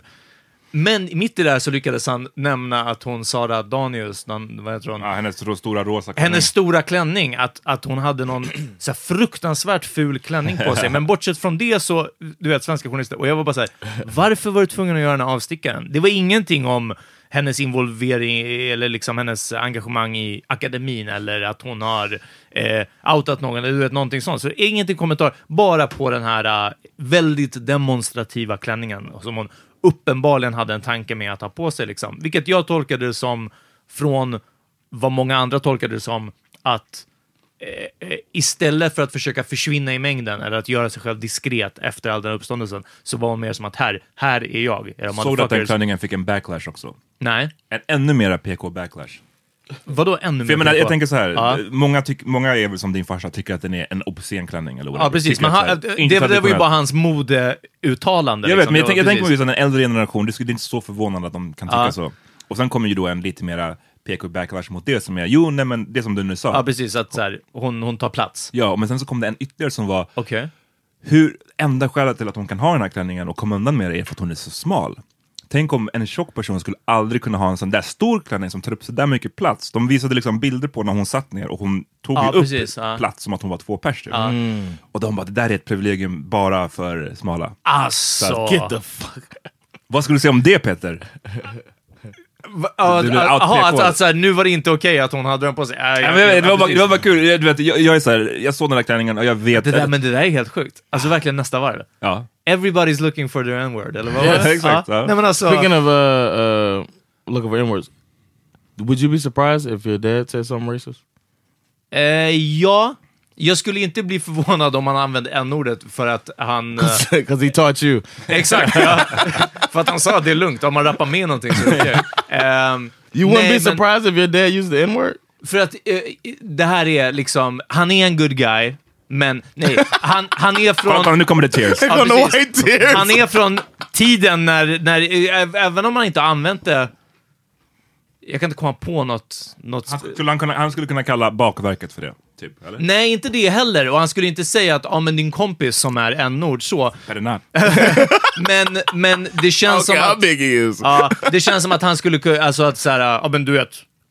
Speaker 3: Men mitt i det här så lyckades han nämna att hon Sara Danius, någon, vad heter hon?
Speaker 2: Ja, Ah, hennes ro- stora rosa
Speaker 3: hennes stora klänning, att, att hon hade någon så här, fruktansvärt ful klänning på sig. Men bortsett från det så, du vet, svenska journalister, och jag var bara så här, varför var du tvungen att göra den här avstickaren? Det var ingenting om hennes involvering eller liksom hennes engagemang i akademin eller att hon har eh, outat någon eller du vet, någonting sånt. Så ingenting kommentar, bara på den här eh, väldigt demonstrativa klänningen som hon uppenbarligen hade en tanke med att ha på sig. Liksom. Vilket jag tolkade som från vad många andra tolkade det som att eh, eh, istället för att försöka försvinna i mängden eller att göra sig själv diskret efter all den här uppståndelsen så var hon mer som att här, här är jag. Era
Speaker 2: Såg du att den
Speaker 3: motherfuckers.
Speaker 2: klänningen fick en backlash också?
Speaker 3: Nej,
Speaker 2: En ännu mera PK-backlash.
Speaker 3: vadå ännu mer?
Speaker 2: För jag, menar,
Speaker 3: PK?
Speaker 2: jag tänker så här,
Speaker 3: Ja.
Speaker 2: många, tyck, många är väl som din farsa, tycker att den är en obscen klänning eller whatever.
Speaker 3: Ja, precis.
Speaker 2: eh, Tycker
Speaker 3: Men
Speaker 2: att
Speaker 3: han,
Speaker 2: så här,
Speaker 3: det,
Speaker 2: inte
Speaker 3: det, var ju
Speaker 2: traditionellt.
Speaker 3: bara hans modeuttalande.
Speaker 2: Jag vet,
Speaker 3: liksom.
Speaker 2: men
Speaker 3: Det
Speaker 2: jag,
Speaker 3: var
Speaker 2: tänk, jag tänker
Speaker 3: precis.
Speaker 2: på just en äldre generation, det skulle det är inte så förvånande att de kan tycka
Speaker 3: Ja.
Speaker 2: så. Och sen kommer ju då en lite mera PK-backlash mot det som är, jo nej men det som du nu sa.
Speaker 3: Ja, precis. Att så här, hon, hon tar plats.
Speaker 2: Ja, men sen så kom det en ytterligare som var,
Speaker 3: Okej.
Speaker 2: hur enda skälet till att hon kan ha den här klänningen och komma undan med det är för att hon är så smal. Tänk om en tjock person skulle aldrig kunna ha en sån där stor klänning som tar upp så där mycket plats. De visade liksom bilder på när hon satt ner och hon tog
Speaker 3: Ja,
Speaker 2: ju upp
Speaker 3: precis, ja.
Speaker 2: plats som att hon var två pers. typ.
Speaker 3: Ja.
Speaker 2: Och de bara, det där är ett privilegium bara för smala.
Speaker 3: Alltså!
Speaker 1: Get the fuck.
Speaker 2: Vad skulle du säga om det Peter?
Speaker 3: Ja,
Speaker 2: Du
Speaker 3: att-
Speaker 2: blir
Speaker 3: att-
Speaker 2: out
Speaker 3: Jaha, att,
Speaker 2: PK.
Speaker 3: att, så här, nu var det inte okej att hon hade den på sig. Ja,
Speaker 2: Ja,
Speaker 3: ja,
Speaker 2: men jag vet,
Speaker 3: ja,
Speaker 2: det, var bara,
Speaker 3: precis.
Speaker 2: det var bara kul, jag, du vet, jag, jag, är så här, jag såg den där klänningen och jag vet...
Speaker 3: det där, men det där är helt sjukt. Alltså verkligen nästa varv.
Speaker 2: ja.
Speaker 3: Everybody's looking for their n-word, eller vad
Speaker 2: Ja,
Speaker 3: var det?
Speaker 2: exakt,
Speaker 3: Ja.
Speaker 2: ja.
Speaker 3: Nej men alltså,
Speaker 1: Speaking of uh, uh, looking for inwards, would you be surprised if your dad said something racist?
Speaker 3: eh, ja. Jag skulle inte bli förvånad om han använde n-ordet för att han... eh,
Speaker 1: Because he taught you.
Speaker 3: exakt! Ja. för att han sa att det är lugnt, om man rappar med någonting så är det okej. Ehm,
Speaker 1: You wouldn't
Speaker 3: nej,
Speaker 1: be
Speaker 3: men-
Speaker 1: surprised if your dad used the N word?
Speaker 3: För att eh, det här är liksom, han är en good guy, men nej, han, han är
Speaker 2: Kolla,
Speaker 3: från...
Speaker 2: kolla, nu kommer det tears.
Speaker 3: Ja,
Speaker 1: On the
Speaker 3: precis.
Speaker 1: white tears.
Speaker 3: Han är från tiden när, när ä- även om man inte har använt det, jag kan inte komma på något, något
Speaker 2: Han skulle, han, kunna, han skulle kunna kalla bakverket för det, typ. Eller?
Speaker 3: Nej, inte det heller. Och han skulle inte säga att ah, men din kompis som är n-ord så.
Speaker 2: Better not.
Speaker 3: Men, men det känns som att...
Speaker 1: big he is.
Speaker 3: Ja, det känns som att han skulle kunna... Alltså att så här, ja men du vet.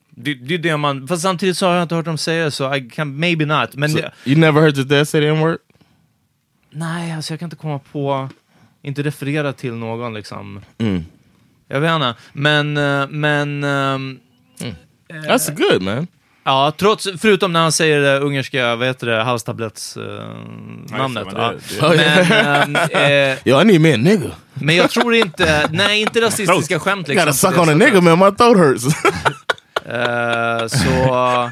Speaker 3: Det, det är det man... Fast samtidigt så har jag inte hört dem säga det, så I can, maybe not. Men det,
Speaker 1: You never heard your dad say the N word?
Speaker 3: nej, alltså jag kan inte komma på... Inte referera till någon liksom.
Speaker 2: Mm.
Speaker 3: Jag vet inte. Men, eh, men... ehm,
Speaker 1: That's good, man.
Speaker 3: Ja, trots, förutom när han säger det ungerska, vad heter det, halstablettsnamnet.
Speaker 2: men det-
Speaker 3: ja.
Speaker 2: det-
Speaker 1: Oh, yeah.
Speaker 3: Men, ehm, eh,
Speaker 1: Yo, I need me a nigga.
Speaker 3: Men jag tror inte, nej inte rasistiska skämt liksom.
Speaker 1: Gotta suck
Speaker 3: på
Speaker 1: on
Speaker 3: det
Speaker 1: a nigga, man. My throat hurts.
Speaker 3: sättet. Eh, så...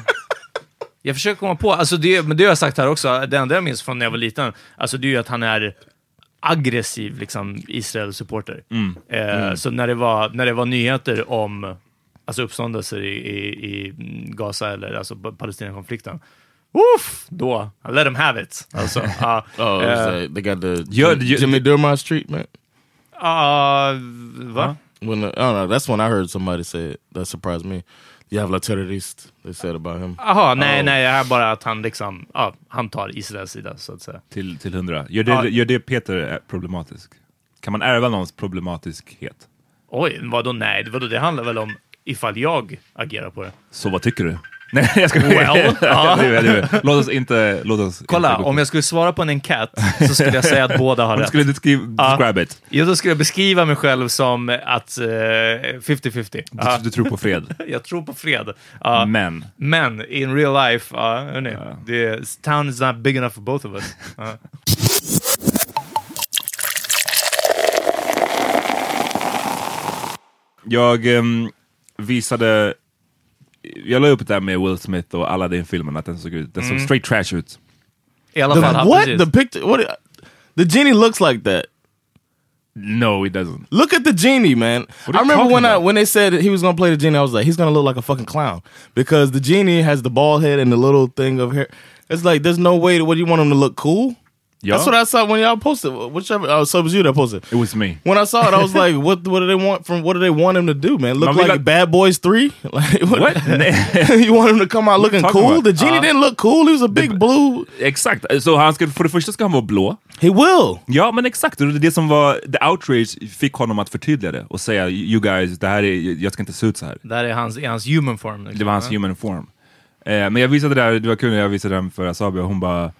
Speaker 3: Jag försöker komma på, alltså det, men det har jag sagt här också, det enda jag minns från när jag var liten, alltså det är ju att han är aggressiv liksom Israel-supporter.
Speaker 1: Mm.
Speaker 3: Eh, Så när det, var, när det var nyheter om alltså uppståndelser i, i, i Gaza eller alltså pa- Palestinakonflikten, Oof, då, I let them have it. Alltså, ja.
Speaker 1: Oh, it's
Speaker 3: Eh,
Speaker 1: like they got the
Speaker 2: Yeah,
Speaker 1: Jim-
Speaker 2: yeah.
Speaker 1: Jimmy Durmaz treatment.
Speaker 3: ah, va?
Speaker 1: When the, I don't know, that's when I heard somebody say it. That surprised me. Jävla terrorist, they said about him.
Speaker 3: Jaha, nej, nej, det här är bara att han liksom, ja, han tar Israels sida så att säga.
Speaker 2: Till, till hundra. Gör det,
Speaker 3: Ja.
Speaker 2: gör det Peter eh, problematisk? Kan man ärva någons problematiskhet?
Speaker 3: Oj, vadå nej? Vadå, det handlar väl om ifall jag agerar på det.
Speaker 2: Så vad tycker du? Nej, jag ska
Speaker 3: Well, ja.
Speaker 2: Det är- det är- Låt oss inte... Låt oss
Speaker 3: Kolla,
Speaker 2: inte gå
Speaker 3: om
Speaker 2: på-
Speaker 3: jag skulle svara på en enkät så skulle jag säga att båda har
Speaker 2: Om du
Speaker 3: rätt.
Speaker 2: skulle describe,
Speaker 3: Ja.
Speaker 2: describe it.
Speaker 3: Jo, då skulle jag beskriva mig själv som att eh, 50-50.
Speaker 2: Du,
Speaker 3: Ja,
Speaker 2: du tror på fred.
Speaker 3: jag tror på fred. Ja,
Speaker 2: Men,
Speaker 3: men in real life, ja, hörni, the town is not big enough for both of us. Ja.
Speaker 2: jag ehm, visade... Jag la upp det där med Will Smith och Aladdin-filmen, att den såg ut... Den såg
Speaker 3: Mm.
Speaker 2: straight trash ut.
Speaker 3: I alla
Speaker 1: The,
Speaker 3: fall, ja,
Speaker 1: what?
Speaker 3: precis.
Speaker 1: The picture? What? The genie looks like that.
Speaker 2: No, it doesn't.
Speaker 1: Look at the genie, man.
Speaker 2: are
Speaker 1: I
Speaker 2: you
Speaker 1: remember
Speaker 2: talking
Speaker 1: when I
Speaker 2: about?
Speaker 1: when they said he was gonna play the genie, I was like, he's gonna look like a fucking clown because the genie has the bald head and the little thing of hair. It's like there's no way. to- What do you want him to look cool?
Speaker 2: Ja.
Speaker 1: That's what I saw when y'all posted. Whichever, oh, so it was you that posted.
Speaker 2: It was me.
Speaker 1: When I saw it, I was like, "What? What do they want from? What do they want him to do, man? Look
Speaker 2: Man, we
Speaker 1: like
Speaker 2: got-
Speaker 1: Bad Boys Three? Like what?
Speaker 2: What? Nej.
Speaker 1: you want him to come out looking
Speaker 2: talking
Speaker 1: cool?
Speaker 2: about? Uh,
Speaker 1: The genie didn't look cool. He was a big blue.
Speaker 2: Exakt, så han ska, för det första ska han vara blå.
Speaker 1: He will.
Speaker 2: Ja, men exakt. Och Det är det som var the outrage fick honom att förtydliga det och säga you guys, det här är, jag ska inte se ut så här.
Speaker 3: Där är hans, är hans human form. liksom.
Speaker 2: Det var hans human form. Eh, men jag visade det där, det var kul när jag visade den för Asabi och hon bara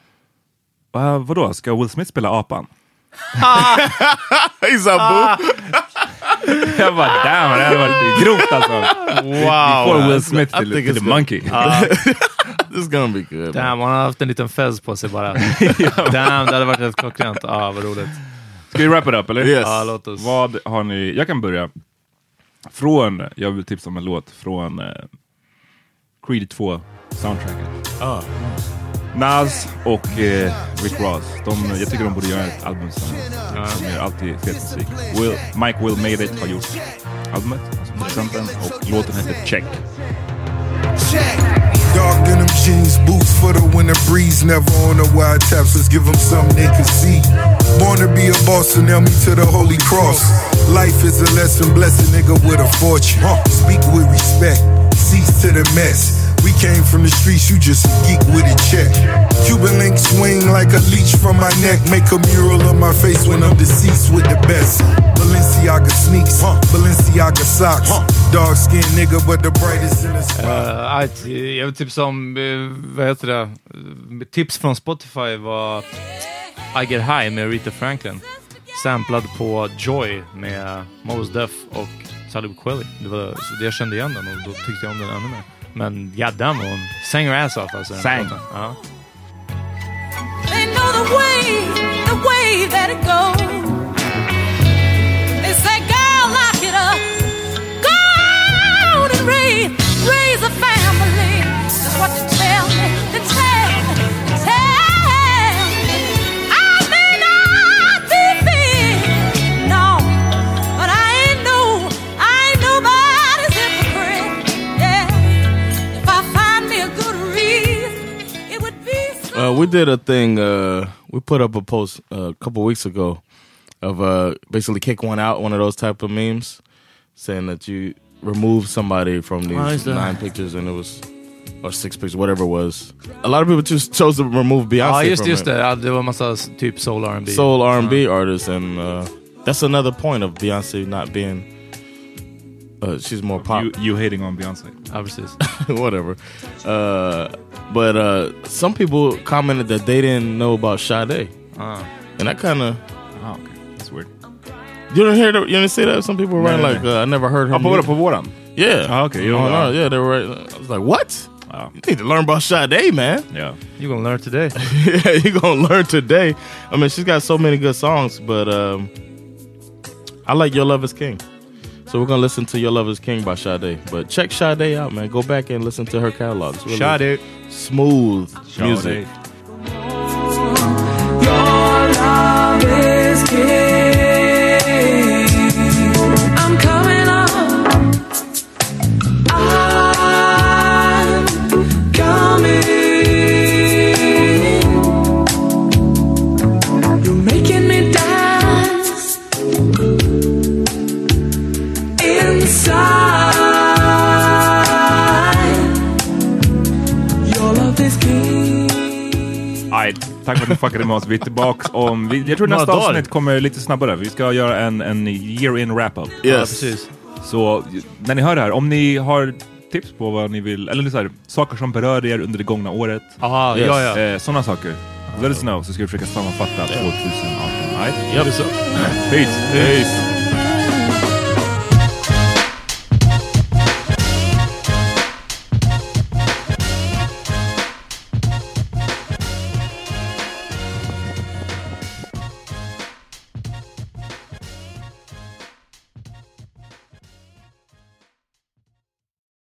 Speaker 2: "Va, Vadå, ska Will Smith spela apan?
Speaker 1: He's a boo.
Speaker 2: Jag bara damn, det här var grovt alltså. Vi får Will Smith
Speaker 1: I think
Speaker 2: till, till
Speaker 1: it's
Speaker 2: the
Speaker 1: good.
Speaker 2: monkey.
Speaker 1: This is gonna be good. man.
Speaker 3: Damn, han har haft en liten fez på sig bara. Damn, det hade varit helt klockrent. Ja, vad roligt.
Speaker 2: Ska vi wrap it up eller?
Speaker 1: Yes.
Speaker 3: Ja, låt oss.
Speaker 2: Vad har ni, jag kan börja. Från, jag vill tipsa om en låt från eh, Creed 2 soundtracket.
Speaker 3: Ah.
Speaker 2: Nas och eh, Rick Ross, de, jag tycker de borde göra ett album tillsammans. De gör alltid fet musik. Will, Mike Will Made It har gjort albumet, alltså producenten, och låten heter Check.
Speaker 6: Dark denim jeans, boots for the winter breeze. Never on the wide taps, let's give them something they can see. Born to be a boss, and nail me to the holy cross. Life is a lesson, bless a nigga with a fortune. Speak with respect, cease to the mess. We came from the streets, you just a geek with a check. Cuban link swing like a leech from my neck. Make a mural of my face when I'm deceased with the best. Balenciaga sneaks, huh? Balenciaga socks. Dark skinned nigga, but the brightest in the spot.
Speaker 3: Eh, att, eh, jag vet typ som, eh, vad heter det, Eh, tips från Spotify var Iger High med Rita Franklin. Samplad på Joy med Mos Def och Talib Kweli. Det var, så det jag kände igen den och då tyckte jag om den ännu mer. Men god damn hon sang her ass off alltså. den
Speaker 2: Sang.
Speaker 3: låten. Ja.
Speaker 7: They know the way, the way that it goes. They say, girl, lock it up. Go out and raise, raise a family. That's what you tell me. They tell me, they tell me. I may not be big, no, but I ain't no, I ain't nobody's hypocrite. Yeah, if I find me a good reason, it would be. So
Speaker 1: Uh, we did a thing. Uh, we put up a post uh, a couple weeks ago of uh, basically kick one out, one of those type of memes, saying that you remove somebody from these nine pictures, and it was or six pictures, whatever it was. A lot of people just chose to remove Beyonce.
Speaker 3: Ja, just,
Speaker 1: from
Speaker 3: just
Speaker 1: it.
Speaker 3: det. Ja, det var en massa s- typ soul R&B.
Speaker 1: Soul R and B artists, and uh, that's another point of Beyonce not being. Uh, she's more pop.
Speaker 2: You, you hating on Beyoncé.
Speaker 3: Ja, precis.
Speaker 1: whatever. Uh, but uh, some people commented that they didn't know about Sade,
Speaker 3: Ah.
Speaker 1: and I kind of
Speaker 2: Ah, okay. That's weird.
Speaker 1: you didn't hear that, you didn't see that. Some people were writing
Speaker 2: No, no,
Speaker 1: like uh, I never heard her.
Speaker 2: Ja, på,
Speaker 1: music.
Speaker 2: på våran?
Speaker 1: yeah.
Speaker 2: Ah, okay, you
Speaker 1: Oh,
Speaker 2: don't
Speaker 1: no,
Speaker 2: know.
Speaker 1: yeah, they were. Writing, I was like, what?
Speaker 2: Ja.
Speaker 1: You need to learn about Sade, man.
Speaker 2: Ah, Ja.
Speaker 3: You gonna learn today.
Speaker 1: yeah, you gonna learn today. I mean, she's got so many good songs, but um, I like Your Love Is King. So we're gonna listen to Your Love Is King by Sade. But check Sade out, man. Go back and listen to her catalog. It's really
Speaker 3: Sade.
Speaker 1: smooth
Speaker 2: Sade.
Speaker 1: music.
Speaker 7: I'm coming on. I'm coming. You're making me dance inside. Your love is king.
Speaker 2: Aj, tack för att ni fuckade med oss. Vi är tillbaka om... Vi, jag tror
Speaker 3: Några
Speaker 2: nästa
Speaker 3: dagar.
Speaker 2: avsnitt kommer lite snabbare. Vi ska göra en, en year in wrap-up.
Speaker 3: Ja,
Speaker 1: Yes.
Speaker 3: precis.
Speaker 2: Så när ni hör det här, om ni har tips på vad ni vill, eller så här, saker som berörde er under det gångna året,
Speaker 3: Aha,
Speaker 1: Yes.
Speaker 3: ja, ja.
Speaker 2: eh, sådana saker. Let us know så ska vi försöka sammanfatta 2018. Right?
Speaker 1: Yep.
Speaker 2: Peace! Peace.